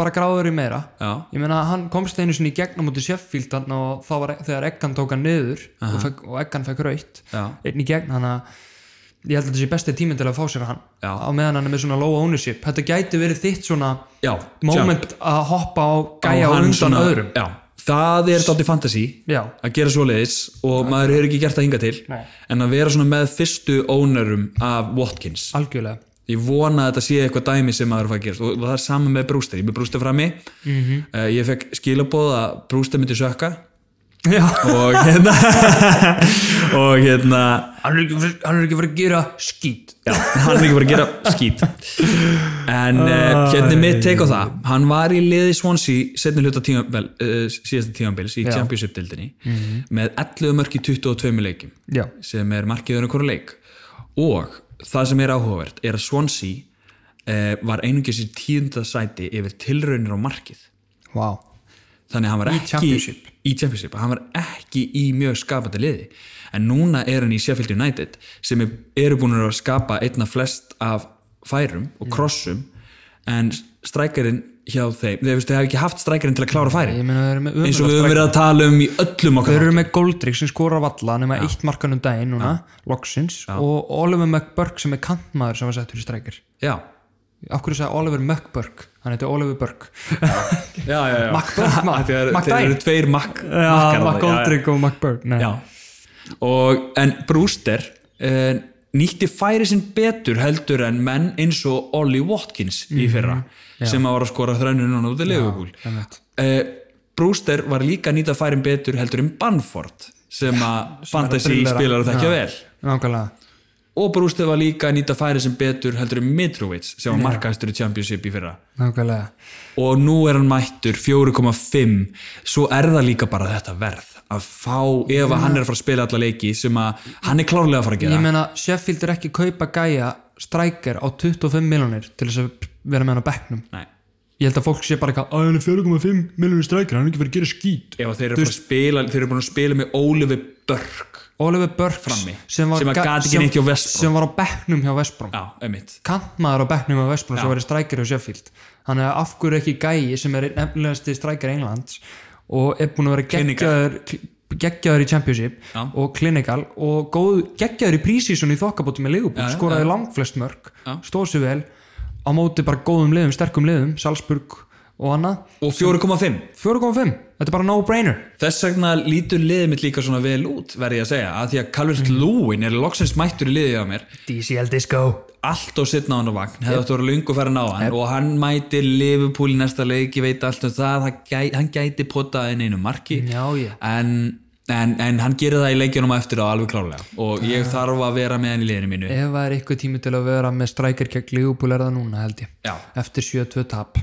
S2: bara gráður í meira
S1: Já.
S2: ég meina hann komst einu sinni í gegnum út í Sheffield þarna og þá var e-, þegar Eggan tók hann niður og, fekk, og Eggan fekk raut
S1: Já.
S2: einn í gegn hann að ég held að þetta sé besti tíminn til að fá sér hann
S1: Já.
S2: á meðan hann er með svona low ownership þetta gæti verið þitt svona
S1: já
S2: moment að hoppa á
S1: sjá,
S2: gæja
S1: á
S2: á
S1: hann
S2: undan
S1: svona-
S2: öðrum
S1: já, Það er dátti fantasy
S2: já,
S1: að gera svoleiðis og maður hefur ekki gert það hinga til
S2: Nei.
S1: en að vera svona með fyrstu ónerum af Watkins
S2: algjörlega
S1: ég vona að þetta sé eitthvað dæmi sem maður fær að gera og það er sama með Brewster, ég er með Brewster frammi mm
S2: Mhm.
S1: ég fekk skilaboð að Brewster myndi sökka
S2: já.
S1: og hérna og hérna
S2: hann er ekki fyrir- hann er ekki fyrir að gera skýt
S1: já, hann er ekki bara að gera skít en uh, hérna er mitt teik á það hann var í liði Swansea setni hluta tímabil, uh, síðasta tímabils í Championship dildinni með 11 mörki 22 leikim
S2: já,
S1: sem er markiður einhverju leik og það sem er áhugavert er að Swansea eh, var einungis í tíunda sæti yfir tilraunir á markið
S2: vá
S1: þannig að hann var ekki
S2: Championship.
S1: í Championship, hann var ekki í mjög skapandi liði en núna er hann í Sheffield United sem er, eru búin að skapa einna flest af færum
S2: Mm.
S1: og krossum en strækjarinn hjá þeim þeir, þeir hafa ekki haft strækjarinn til að klára færi
S2: ég meina það eru með
S1: eins og
S2: ömurlega
S1: við höfum verið að tala um í öllum okkar
S2: Þeir eru með Goldrick sem skorar valla nema eitt markan um daginn núna, loksins og Oliver McBurke sem er kantmaður sem var settur í streikir.
S1: já,
S2: Af hverju sagði Oliver McBurke? Hann heitir Oliver Burke.
S1: já, já, já.
S2: McBurke, ma-
S1: Þeir, þeir
S2: McDine.
S1: eru tveir makk
S2: Já, McGoldrick og McBurke. Nei.
S1: Já. Og, en Brewster eh, nýtti færi sinn betur heldur en menn eins og Ollie Watkins
S2: Mhm.
S1: í fyrra sem að var að skora þrænur núna út í Liverpool
S2: einmitt.
S1: eh, Brewster var líka að nýta færin betur heldur en Banford sem að fantasy
S2: brillera.
S1: spilar að þekkja
S2: Já.
S1: vel
S2: Nákvæmlega.
S1: og Brewster var líka að nýta færi sem betur heldur en Mitrovic sem var markaðistur í Championship í fyrra
S2: Nákvæmlega.
S1: og nú er hann mættur 4,5 svo er það líka bara þetta verð að fá, ef að hann er að fara að spila alla leiki sem að hann er klárlega að fara að
S2: Ég
S1: gera
S2: meina, Sheffield er ekki kaupa gæja streikir á 25 miljonir til þess að vera með hann á bekknum.
S1: Nei.
S2: Ég held að fólk sé bara eitthvað, að hann er 4,5 miljonir streikir, hann er ekki verið að gera skýt.
S1: ef að þeir eru að fara að spila þeir eru búin að spila með Ólifi Börk
S2: Oliver Burke
S1: Frammi.
S2: sem var,
S1: Sem að
S2: ga-
S1: gat ekki
S2: sem-
S1: neitt hjá West Brom.
S2: sem var á bekknum hjá Vestbrom.
S1: já, emitt
S2: kantmaður á bekknum á Vestbrunn sem verið strækir á Sheffield þannig að af hverju ekki gæi sem er nefnilegasti strækir Englands og er búin að vera
S1: Clinical.
S2: geggjaður geggjaður í Championship
S1: Já.
S2: og Clinical og góð, geggjaður í prísísun í þokkabótum með Leopold,
S1: Já, já,
S2: skoraði langflest mörg
S1: Já.
S2: stóð sér vel á móti bara góðum liðum, sterkum liðum, Salzburg og annað,
S1: og 4,5
S2: 4.5 þetta er bara no brainer
S1: Þess vegna lítur liðið mitt líka svona vel út verði ég að segja, að því að Calvert
S2: Mhm.
S1: mm. Lúin er loksins mættur í liðið á mér
S2: DCL Disco
S1: allt og sittna á hann á vagn hefði átt að vera lungu farin á hann og hann mætir Liverpool í næsta leik, ég veit allt um það hann gæti, hann gæti potað inn einu marki
S2: Já, já.
S1: En, en, en hann gerir það í leikjunum á eftir á alveg klálega og ég þarf að vera með hann í liðinu mínu
S2: ef það er eitthvað tími til að vera með strækir gegn Leopold er það núna held ég
S1: Já.
S2: eftir 7-2 tap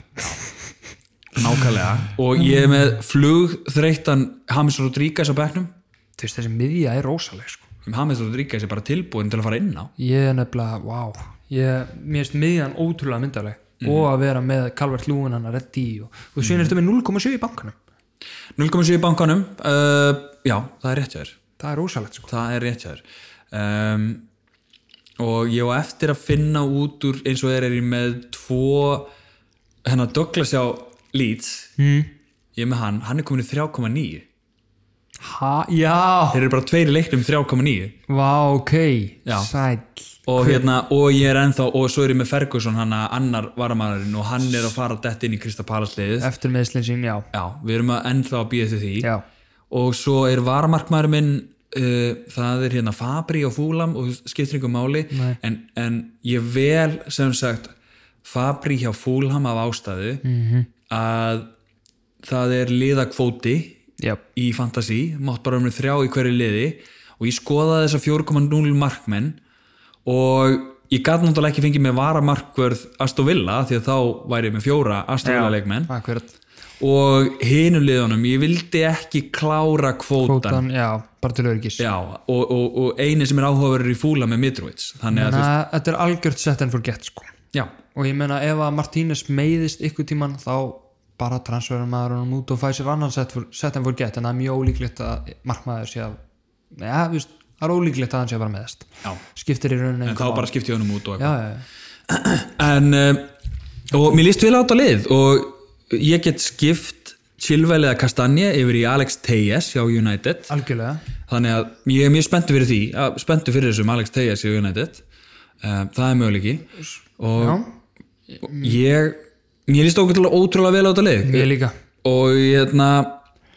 S1: nákvæmlega og ég er með flugþreyttan Hamis Rodríguez á bekknum Um,
S2: Þú veist, þessi miðja er rosaleg sko
S1: Hamis Rodríguez er bara tilbúin til að fara inn á
S2: Ég er nefnilega, vá, ég, mér finnst miðjan ótrúlega myndarleg og að vera með Calvert Lúin hann að reddi og, og svo mm. ertu með 0,7 í bankanum
S1: 0,7 í bankanum uh, já, það er rétt hjá þér
S2: það er ósalegt sko
S1: það er rétt hjá þér um, og ég á eftir að finna út úr eins og þeir eru með tvo hennar Douglas á Leeds mm. ég er með hann, hann er komin í 3,9
S2: ha, já,
S1: þeir eru bara tveir í leiknum 3,9
S2: vá, ok
S1: Já.
S2: sæll
S1: og hérna, og ég er ennþá og svo er ég með Ferguson hann að annar varamæðurinn og hann er að fara dætt inn í Krista Palasliðið
S2: eftir meðslinn sín, já,
S1: já, við erum að ennþá að býja eftir því
S2: já.
S1: og svo er varamarkmaður minn uh, það er hérna Fabri og Fúlam og skiptir ykkur máli
S2: Nei.
S1: en, en ég vel sem sagt Fabri hjá Fúlam af ástæðu -hmm. að það er liðakvóti
S2: já,
S1: í Fantasí, mátt bara um þrjá í hverju liði og ég skoðaði þessa 4,0 markmenn og ég gat náttúrulega ekki fengið með varamarkvörð Aston Villa því að þá væri ég með fjóra Aston Villa leikmenn
S2: akkurat
S1: og hinu liðunum, ég vildi ekki klára kvótan,
S2: Bótan, já, bara til öryggis
S1: Já, og, og, og eini sem er áhugaverður í fúla með Mitrovic þannig að þú
S2: Þannig að þetta er algjört set and forget sko.
S1: já,
S2: og ég meina ef að Martínez meiðist ykkur tíman þá bara transferum maður honum út og fæ sér annan set, for, set and forget en það er mjög ólíklegt að markmaður sé að ja, viðst, það er ólíklegt að hann sé að vera meðist
S1: já,
S2: skiptir í rauninni
S1: en þá bara skipti ég honum út og
S2: já,
S1: eitthvað
S2: já, já.
S1: en, um, og mér líst vel á þetta lið og ég get skipt Chilwell eða Kastanje yfir í Alex Tejas hjá United
S2: algjörlega
S1: þannig að ég er mjög spenntu fyrir því að, spenntu fyrir þessum Alex Tejas hjá United um, það er möguleiki og
S2: já,
S1: ég mér líst ótrúlega, ótrúlega vel á þetta lið
S2: ég líka
S1: og hérna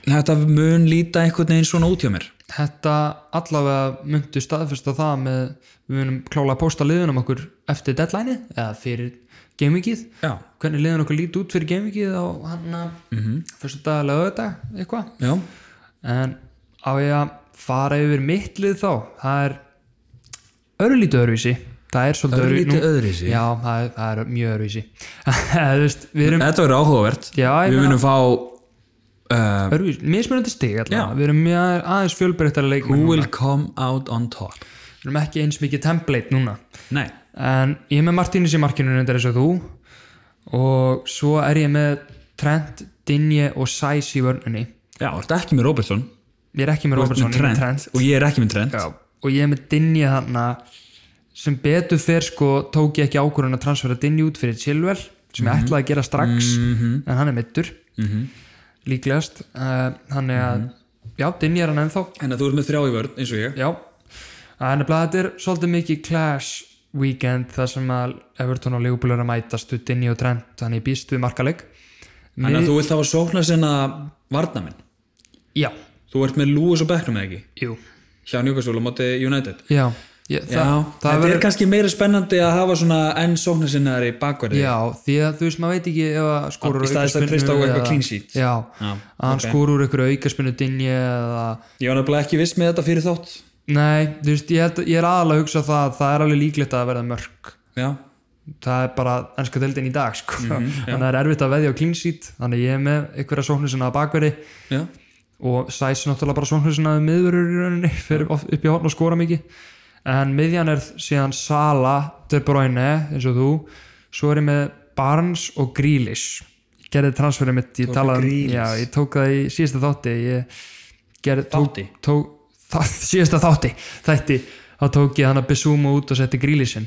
S1: þetta mun líta einhvern veginn svona út hjá mér
S2: þetta allavega myndi staðfesta það með við munum klála að posta liðunum okkur eftir deadline eða fyrir gamevikið
S1: já,
S2: hvernig liðun okkur lít út fyrir gamevikið á hann að mm
S1: Mhm.
S2: -hmm. fyrstu dagalega auðvitað eitthvað
S1: já,
S2: en á ég að fara yfir mitt lið þá það er örlítið öðruvísi það er svolítið
S1: Örlítið
S2: öðru- nú-
S1: öðruvísi?
S2: já, það er, það er mjög öðruvísi Þú veist, við erum
S1: þetta verður áhugavert
S2: já, ég
S1: við
S2: meina,
S1: munum fá uh,
S2: öðruvísi, mismunandi stig
S1: Já.
S2: allavega við erum mjög aðeins fjölbreyttara
S1: who
S2: leikmenn
S1: will
S2: núna.
S1: come out on top
S2: við erum ekki eins mikið template núna
S1: nei,
S2: en ég er með Martínez í markinu reyndar eins og þú og svo er ég með Trent, Dinje og Sæs í vörnunni
S1: já, þetta er ekki með Robertson
S2: ég er ekki með Robertson, ég er með Trent
S1: og ég er ekki með Trent
S2: Já, og ég er með Dinni þarna sem betur fer sko tók ég ekki ákvörðun að transfera Dinni út fyrir Chilwell sem
S1: Mhm.
S2: ég ætlaði að gera strax en hann er mittur líklegast uh, hann er
S1: Mhm.
S2: að, já Dinni er hann ennþá
S1: en þú ert með þrjá í vörn eins og ég
S2: já, en nefnilega þetta er svolítið mikið clash weekend þar sem að Everton og Leopold er að mætast við Dinni og Trent, þannig ég býst við markaleg
S1: þannig að þú vilt hafa sókna sinna varnaminn
S2: já,
S1: þú ert með Lewis og Beckham eða ekki
S2: jú,
S1: hjá Newcastle á móti United
S2: já ég,
S1: Já, þetta er kannski meira spennandi að hafa svona enn sóknarsinnaðar í bakverði
S2: Já, því að þú veist, maður veit ekki ef að skóra
S1: Að- í staðist að treysta á eitthvað clean sheet.
S2: Já,
S1: Já,
S2: að
S1: ok.
S2: hann okay. skóra úr eitthvað aukaspinnu dinni eða
S1: Ég var nefnilega ekki viss með þetta fyrir þátt
S2: Nei, þú veist, ég, held, ég er aðalega að hugsa það að það er alveg líklegt að verða mörg
S1: Já,
S2: Það er bara ennska deildin í dag, sko
S1: Mhm,
S2: Þannig að það er erfitt að veðja á clean sheet Þannig að ég er með einhverja sóknusina að bakveri
S1: já,
S2: og sæs náttúrulega bara sóknusina að miðurur í rauninni fyrir oft upp í hotn og skóra mikið En miðjan er síðan Sala, De Bruyne, eins og þú Svo er ég með Barnes og Grealish Ég gerði transferið mitt, ég
S1: Tóku
S2: talaði um,
S1: Grealish.
S2: já, ég tók það í síðasta þátti ég gerði, tók,
S1: Þátti?
S2: tók, það, síðasta þátti þætti, þá tók ég hann að Bissouma út og setti Grealishin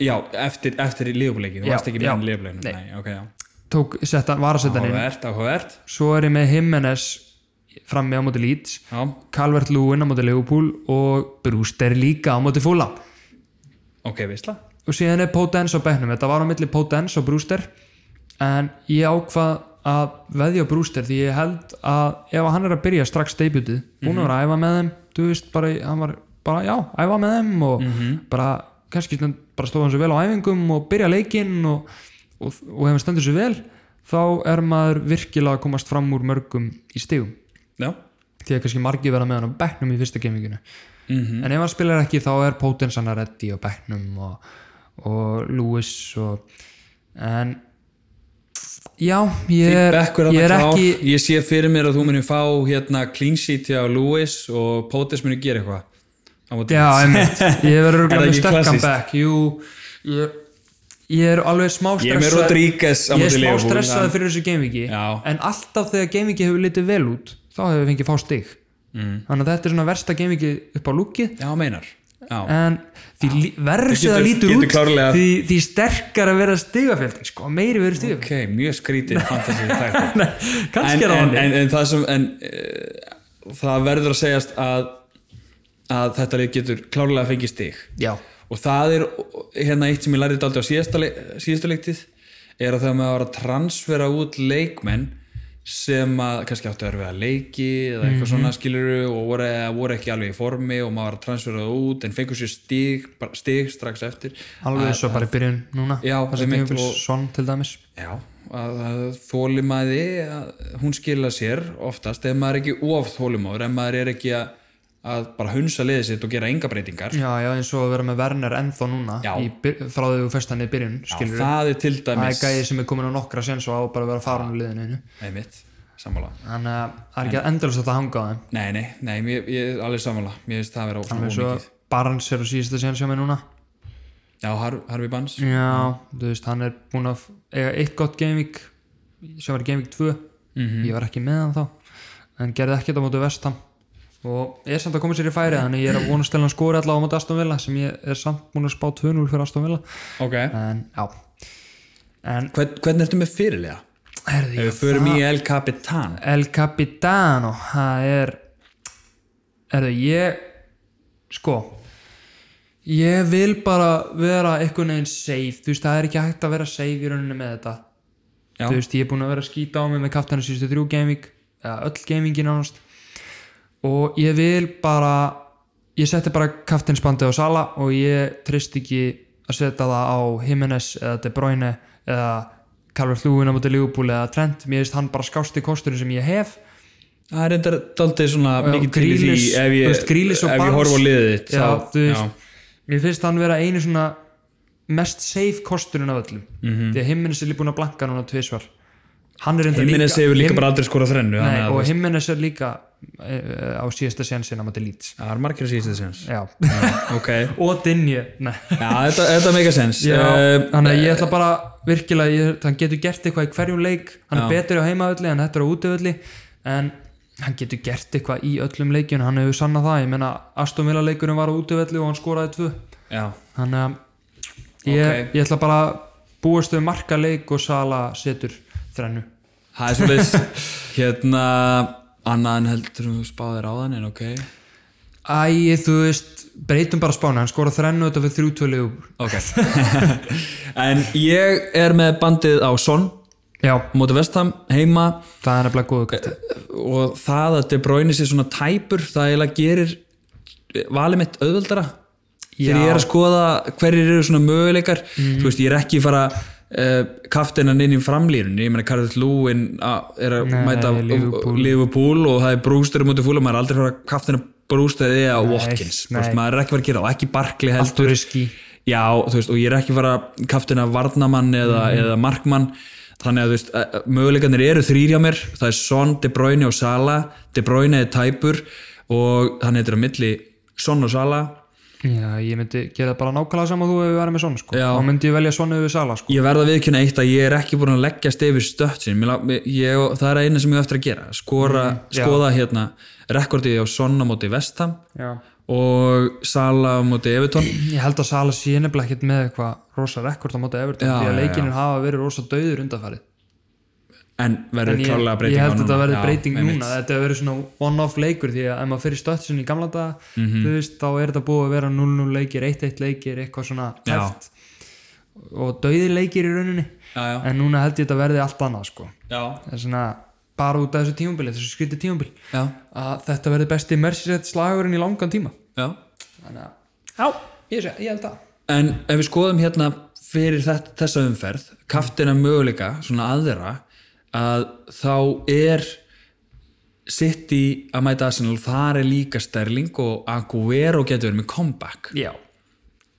S1: já eftir, eftir liðbúleikin, þú
S2: Já,
S1: varst ekki með
S2: já.
S1: hann liðbúleikinu Nei. ok, já,
S2: tók, setta, var að setja hann inn
S1: áhugavert, áhugavert
S2: Svo er ég með Jimenez frammi á móti Leeds
S1: Já,
S2: Calvert Lúin á móti Leopold og Brewster líka á móti Fulham
S1: ok, veistla
S2: og síðan er Potence á bekknum þetta var á milli Potence og Brewster en ég ákvað að veðja á Brewster því ég held að ef hann er að byrja strax deybutið búin að vera að æfa með þeim þú veist bara, hann var bara, já, æfa með þeim og bara, kannski stund- bara stóð hann svo vel á æfingum og byrja leikinn og, og, og ef hann stendur svo vel þá er maður virkilega að komast fram úr mörgum í stigum
S1: Já,
S2: því að kannski margir vera með hann á bekknum í fyrsta gaminginu
S1: Mhm.
S2: en ef hann spilar ekki þá er Potens hann að reddi á bekknum og, og Lewis og, en já, ég er,
S1: Bekkur
S2: ég
S1: þarna
S2: er
S1: klár,
S2: ekki
S1: ég sé fyrir mér að þú munir fá hérna clean sheet hjá Lewis og Potis munir gera eitthvað á móti
S2: Já, einmitt, ég
S1: Er
S2: verður
S1: það
S2: örugglega með
S1: ekki
S2: sterkan
S1: klassískt?
S2: bekk Jú, ég, ég er alveg smá
S1: Ég er með
S2: stressað
S1: Rodríguez á
S2: Ég
S1: móti
S2: er smá
S1: Leopold
S2: stressað fyrir þessu gameviki
S1: Já.
S2: En alltaf þegar gameviki hefur litið vel út þá hefur við fengið fá stig mm. Þannig að þetta er svona versta gameviki upp á lúkið
S1: Já, meinar Já,
S2: En því lí- verri sem
S1: Getur-
S2: það lítur
S1: getur
S2: út
S1: klárlega-
S2: því, því sterkar að vera stigafjöldin sko, meiri verður stigafjöldin
S1: ok, mjög skrítið fantasy tækni en,
S2: Kannski er það
S1: en,
S2: þannig.
S1: en, en það sem en, uh, það verður að segjast að, að þetta lið getur klárlega að fengi stig
S2: Já,
S1: og það er hérna eitt sem ég lærði aldrei á síðasta, leik, síðasta leiktið er að þegar maður var að transfera út leikmenn sem að kannski áttu að vera leiki eða eitthvað
S2: Mhm.
S1: svona skiluru og voru, eða voru ekki alveg í formi og maður var að transfera það út en fengur sér stig, bara stig strax eftir
S2: alveg svo bara í byrjun núna
S1: Já,
S2: þessi
S1: einmitt,
S2: tímabils,
S1: og-
S2: Son til dæmis
S1: Já, að, að þólimaði að hún skila sér oftast ef maður er ekki of þólimaður ef maður er ekki að, að bara hunsa liðið sitt og gera enga breytingar
S2: Já, já, eins og að vera með Werner ennþá núna
S1: Já.
S2: í, byr- frá því þú fyrst hann í byrjun skilur
S1: það er til
S2: það er
S1: dæmis
S2: gæði sem er komin á nokkra séns og á bara að vera farin úr liðinu einu.
S1: einmitt, sammála
S2: þannig að það er ekki að endalast að hanga á þeim
S1: Nei, nei, nei, ég, ég er alveg sammála Mér finnst það vera ósvona
S2: þannig að
S1: ómikið
S2: Barnes er á síðasta séns hjá mig núna
S1: Já, Har Harfi Bans
S2: Mm. já, þú veist, hann er búin að f- eiga eitt gott gamevík sem var gamevík 2
S1: Mhm.
S2: ég var ekki með hann þá en gerði ekkert á mótu vestam og ég er samt að koma sér í færi þannig að ég er að vona að stela hann skóri allavega á mótu Aston Villa sem ég er samt búin að spá 2-0 fyrir Aston Villa
S1: Ok
S2: en já en
S1: Hvern, Hvernig ertu með fyrirlega?
S2: herði,
S1: Ef við förum í El Capitan
S2: El Capitano það er er það ég sko ég vil bara vera einhvern veginn safe þú veist það er ekki hægt að vera safe í rauninni með þetta
S1: Já.
S2: þú veist ég er búin að vera að skýta á mig með kaftanu síðustu þrjú gaming eða öll gamingin ánast og ég vil bara ég setti bara kaftinsbandið á Sala og ég trist ekki að setja það á Jimenez eða De Bruyne eða Calvert Lúin á móti Liverpool eða Trent, mér finnst hann bara skásti kosturinn sem ég hef
S1: Það er enda daldið svona
S2: Já,
S1: mikið til í því
S2: Grealish,
S1: ef
S2: þú
S1: ég,
S2: veist, Grealish og
S1: ef ég
S2: Barnes.
S1: horf á liðið þitt
S2: já,
S1: þá-
S2: þú
S1: já.
S2: veist mér finnst hann vera einu svona mest safe kosturinn af öllum
S1: Mhm.
S2: -hmm. því að Jimenez er líka búin að blanka núna tvisvar hann er enda
S1: Jimenez hefur líka bara aldrei skorað þrennu
S2: Nei,
S1: þannig að þú
S2: og
S1: veist,
S2: Jimenez er líka eh, á síðasta sénsinn á móti Leeds
S1: Það er margir að síðast þessins
S2: já
S1: Ok
S2: og Dinje, nei
S1: Já, þetta, þetta make a sense
S2: Já,
S1: Eh,
S2: þannig að ég ætla bara virkilega, ég, hann getur gert eitthvað í hverjum leik hann er betur á heimaölli en þetta er á útöölli en hann getur gert eitthvað í öllum leikjun hann hefur sannað það, ég meina Aston Villa leikurinn var á útöölli og hann skoraði tvö
S1: Já,
S2: þannig að ég,
S1: Ok.
S2: ég ætla bara að búast við marka leik og Sala setur þrennu
S1: það er svolítið Hérna Annað en heldur þú spáðir á þann en ok
S2: Æ, þú veist, breytum bara spána hann skoraði þrennu þetta fyrir þrjútölu
S1: Ok En ég er með bandið á Son
S2: já,
S1: móti vestam heima
S2: það er nefnilega góðu kvætt
S1: Eh, og það að De Bruyne sé svona tæpur það eiginlega gerir valið mitt auðveldara þegar
S2: Já. Mhm.
S1: ég er að skoða hverjir eru svona möguleikar þú veist ég er ekki fara uh, kaftinan inn í framlýrunni ég meina Karður Lúin er að mæta
S2: Liverpool.
S1: Liverpool og það er brústur mútið fúla, maður er aldrei fara kaftinan brústur eða Watkins, þú veist,
S2: nei.
S1: maður er ekki fara að gera það og ekki Barkley heldur
S2: Allt úr riski
S1: Já, þú veist, og ég er ekki fara kaftina varnamann eða,
S2: Mhm.
S1: eða markmann þannig að þú veist, að- að möguleikarnir eru þrír hjá mér, það er Son, De Bruyne og Sala, De Bruyne er tæpur og hann heitir á milli Son og Sala,
S2: Já, ég myndi gera bara nákvæmlega saman þú ef við verðum með svona sko.
S1: Já.
S2: þá myndi ég velja svona yfir Sala sko.
S1: ég verða viðkynna eitt að ég er ekki búin að leggja stefið stötsin Mér lá- ég, ég- það er eina sem ég á eftir að gera skora,
S2: Mm, já.
S1: skoða hérna rekordið á Son á móti Vestham
S2: Já.
S1: og Sala á móti Evertón
S2: Ég held að Sala sé nefnilega ekkert með eitthvað rosa rekord á móti Everton
S1: Já,
S2: því að
S1: já, já.
S2: leikinir hafa verið rosa döður undanfærið
S1: en verður
S2: ég,
S1: klálega
S2: ég
S1: breyting á
S2: held að þetta
S1: núna.
S2: verði
S1: Já,
S2: breyting
S1: einmitt.
S2: núna þetta verður svona one-off leikur því að ef maður fyrir stöttsinn í gamla daga
S1: Mhm.
S2: þú veist, þá er þetta búið að vera 0-0 leikir 1-1 leikir, eitthvað svona
S1: Já.
S2: heft og döðir leikir í rauninni
S1: Já, já.
S2: en núna held ég þetta verði allt annað sko.
S1: Já,
S2: það er svona bara út af þessu tímubili, þessu skrítið tímubili
S1: já,
S2: að þetta verði besti Mercedes slagurinn í langan tíma
S1: já
S2: þannig að já, ég, sé, ég held að
S1: En ef við skoðum hérna fyrir þetta, þessa umferð, kaftina möguleika, svona aðra, að þá er City að mæta Arsenal, þar er líka Sterling og Aguero getur verið með comeback.
S2: já,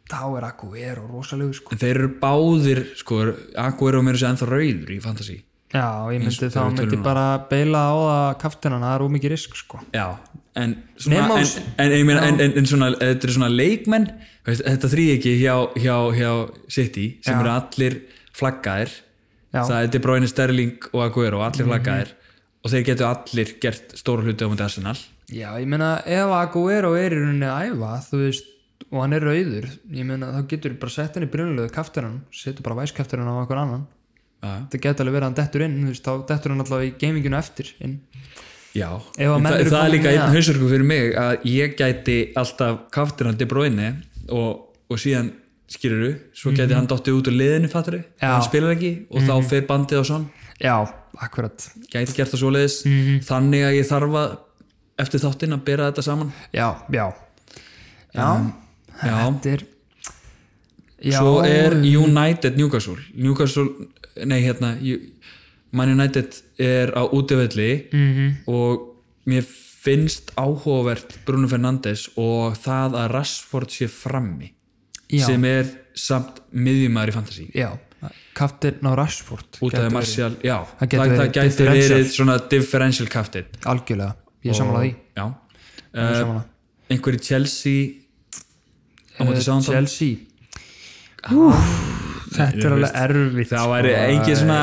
S2: þá er Aguero rosalegu sko
S1: En þeir eru báðir, sko, Aguero meira sér ennþá rauður í fantasy.
S2: já, ég myndi þá
S1: þegar við
S2: myndi
S1: tölum um
S2: bara beila á það kaftinan, það er ómikið risk sko
S1: Já, en svona,
S2: Nema
S1: en,
S2: á-
S1: en, ég meina, en, en, en svona, þetta er svona leikmenn veist, þetta þrýjiki hjá, hjá, hjá City sem
S2: Já.
S1: eru allir flaggaðir
S2: Já. Mhm.
S1: það er De Bruyne, Sterling og Aguero allir flaggaðir og þeir getur allir gert stóra hluti á mútið Arsenal
S2: Já, ég meina ef Aguero er í rauninni að æfa þú veist, og hann er rauður ég meina þá getur bara sett hann í brunulegu kaftirinn, setur bara væskaftirinn á einhvern annan
S1: Já, já.
S2: það getur alveg verið að hann dettur inn þú veist, þá dettur hann allavega í gaminginu eftir inn.
S1: Já,
S2: Ef að
S1: En
S2: menn
S1: það,
S2: eru
S1: það er
S2: komnir
S1: líka
S2: með
S1: einn
S2: það.
S1: hausverku fyrir mig að ég gæti alltaf kaftir hann De Bruyne og, og síðan skýrur svo gæti hann dottið út úr liðinu fattari
S2: Mhm. Já. Mhm.
S1: hann spilar ekki og þá fer bandið og svona
S2: Já, akkurat
S1: gæti gert það svoleiðis
S2: Mhm.
S1: þannig að ég þarf að eftir þáttinn að bera þetta saman
S2: Já, já Já,
S1: Já,
S2: þetta er já,
S1: svo er United Newcastle Newcastle, nei hérna Ju- Man United er á útivelli
S2: Mhm.
S1: og mér finnst áhugavert Bruno Fernandes og það að Rashford sé frammi
S2: já,
S1: sem er samt miðjumæður í fantasy
S2: já, kaftirinn á Rashford
S1: út af
S2: gæti verið.
S1: Martial, já,
S2: Það
S1: það,
S2: gæti
S1: það
S2: verið
S1: gæti
S2: differential.
S1: verið svona differential captain
S2: Algjörlega, ég samanlega því
S1: já,
S2: Ég
S1: uh,
S2: sammála.
S1: einhverju Chelsea á móti
S2: Eh,
S1: Southampton
S2: Chelsea Úf, Þetta er alveg erfitt
S1: það væri
S2: sko.
S1: engin svona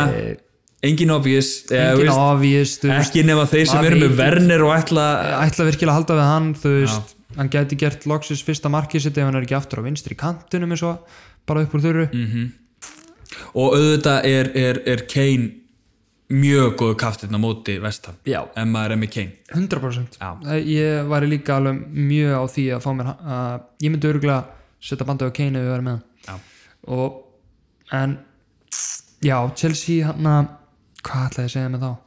S1: engin obvious eða,
S2: Engin
S1: veist,
S2: obvious, þú veist
S1: ekki nema þeir sem
S2: maður
S1: eru með
S2: veit-
S1: verner og ætla
S2: ætla virkilega að halda við hann þú veist, hann gæti gert loksins fyrsta markið sitt ef hann er ekki aftur á vinstri kantinum eins og bara upp úr þurru
S1: og auðvitað er, er, er Kane mjög góð kaftin á móti vestam
S2: Já.
S1: en maður er með Kane
S2: 100%
S1: Já.
S2: Það- ég væri líka alveg mjög á því að fá mér hann- að ég myndi örgulega setja bandið á Kane ef ég væri með hann
S1: já.
S2: og en já, Chelsea hann að hvað ætlaði ég að segja með þá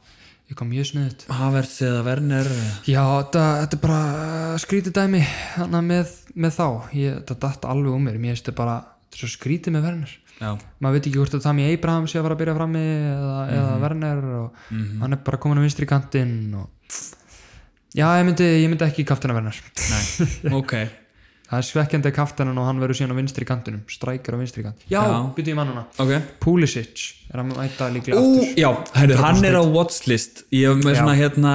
S2: ég kom mjög sniðut
S1: Havertz eða Werner eða-
S2: Já, þetta, þetta er bara uh, skrítið dæmi hana, með, með þá ég, þetta datt alveg um mér, mér finnst þetta bara þetta er svo skrítið með Werner
S1: já,
S2: maður veit ekki hvort að Tami Abraham sé að fara að byrja frammi eða,
S1: Mhm.
S2: eða Werner og hann er bara komin á vinstri kantinn og já, ég myndi, ég myndi ekki kaftina Werner
S1: nei, ok
S2: það er svekkjandi að kaftinan og hann verður síðan á vinstri kantinum strækir á vinstri kant já, já.
S1: Já.
S2: byrjuði mannuna
S1: ok
S2: Pulisic er að mæta líklega
S1: Ú,
S2: aftur
S1: já, herri, hann er á watchlist ég hef með
S2: Já.
S1: svona hérna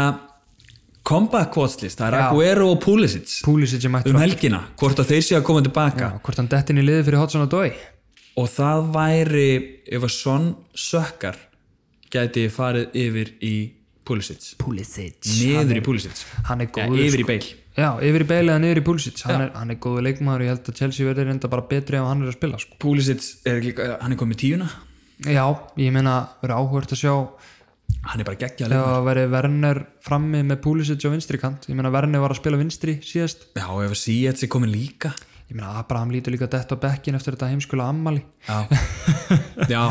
S1: comeback watchlist, það er
S2: Já.
S1: Aguero og Pulisic
S2: Pulisic er mættur
S1: um
S2: aftur.
S1: helgina, hvort að þeir séu að koma tilbaka
S2: Já, hvort hann dettin í liði fyrir Hotson og Dói
S1: og það væri ef að svon sökkar gæti farið yfir í Pulisic,
S2: Pulisic
S1: niður í Pulisic
S2: hann er
S1: ja,
S2: góður sko.
S1: yfir í beil
S2: Já, yfir í Bale eða niður í Pulisic hann er, hann er góðu leikmaður, ég held að Chelsea verður reynda bara betri ef hann er að spila sko.
S1: Pulisic, er, líka- hann er komið með tíuna
S2: Já, ég meina, verður áhugert að sjá
S1: hann er bara geggjað
S2: ef
S1: leikmaður.
S2: að verður Werner frammi með Pulisic á vinstri kant, ég meina Werner var að spila vinstri síðast,
S1: já, ef að Sietz er komið líka
S2: ég meina Abraham lítur líka dett á bekkin eftir þetta heimskula ammali
S1: Já, já,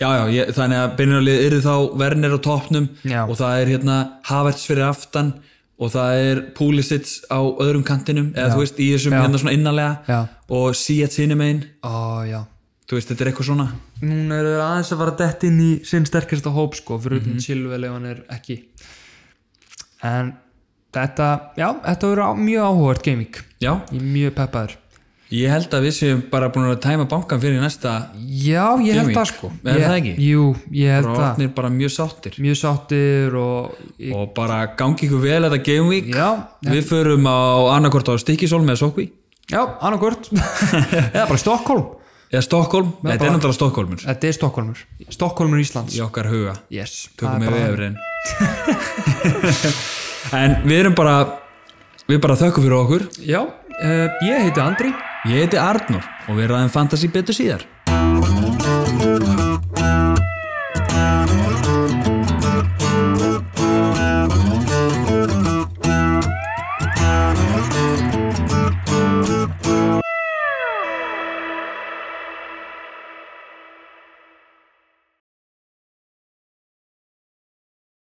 S1: já, já ég, þannig að byrjunarlið eru þá Werner á toppnum
S2: Já.
S1: og það er hérna Havertz fyrir aftan og það er Pulisic á öðrum kantinum eða þú veist í þessum hérna svona innarlega
S2: Já.
S1: og Sietz hinum einn,
S2: Ó, já
S1: þú veist þetta er eitthvað svona
S2: Núna eru þeir aðeins að fara dett inn í sinn sterkasta hóp sko, fyrir utan mm ef hann er ekki en þetta, já, þetta verður á- mjög áhugert gaming,
S1: Já,
S2: ég er mjög peppaður
S1: ég held að við séum bara búin að tæma bankan fyrir næsta
S2: Já, ég held
S1: Gaming,
S2: það sko
S1: er
S2: ég,
S1: það ekki?
S2: Jú, ég held
S1: og
S2: það
S1: orðnir bara mjög sáttir
S2: Mjög sáttir og ég,
S1: og bara gangi ykkur vel þetta Game Week
S2: Já,
S1: Við förum á annarkort á Stikisól með Sokvi
S2: já annarkvört Eða bara Stokkólm
S1: eða Stokkólm, þetta er
S2: bara-
S1: náttúrulega Stokkólmur
S2: Þetta er Stokkólmur Stokkólmur Íslands
S1: í okkar huga
S2: Yes,
S1: tökum
S2: það er
S1: við
S2: bara-
S1: vefurinn en við erum bara við bara þökkum fyrir okkur
S2: Já, uh, ég heiti Andri
S1: ég heiti Arnur og við ræðum fantasy betur síðar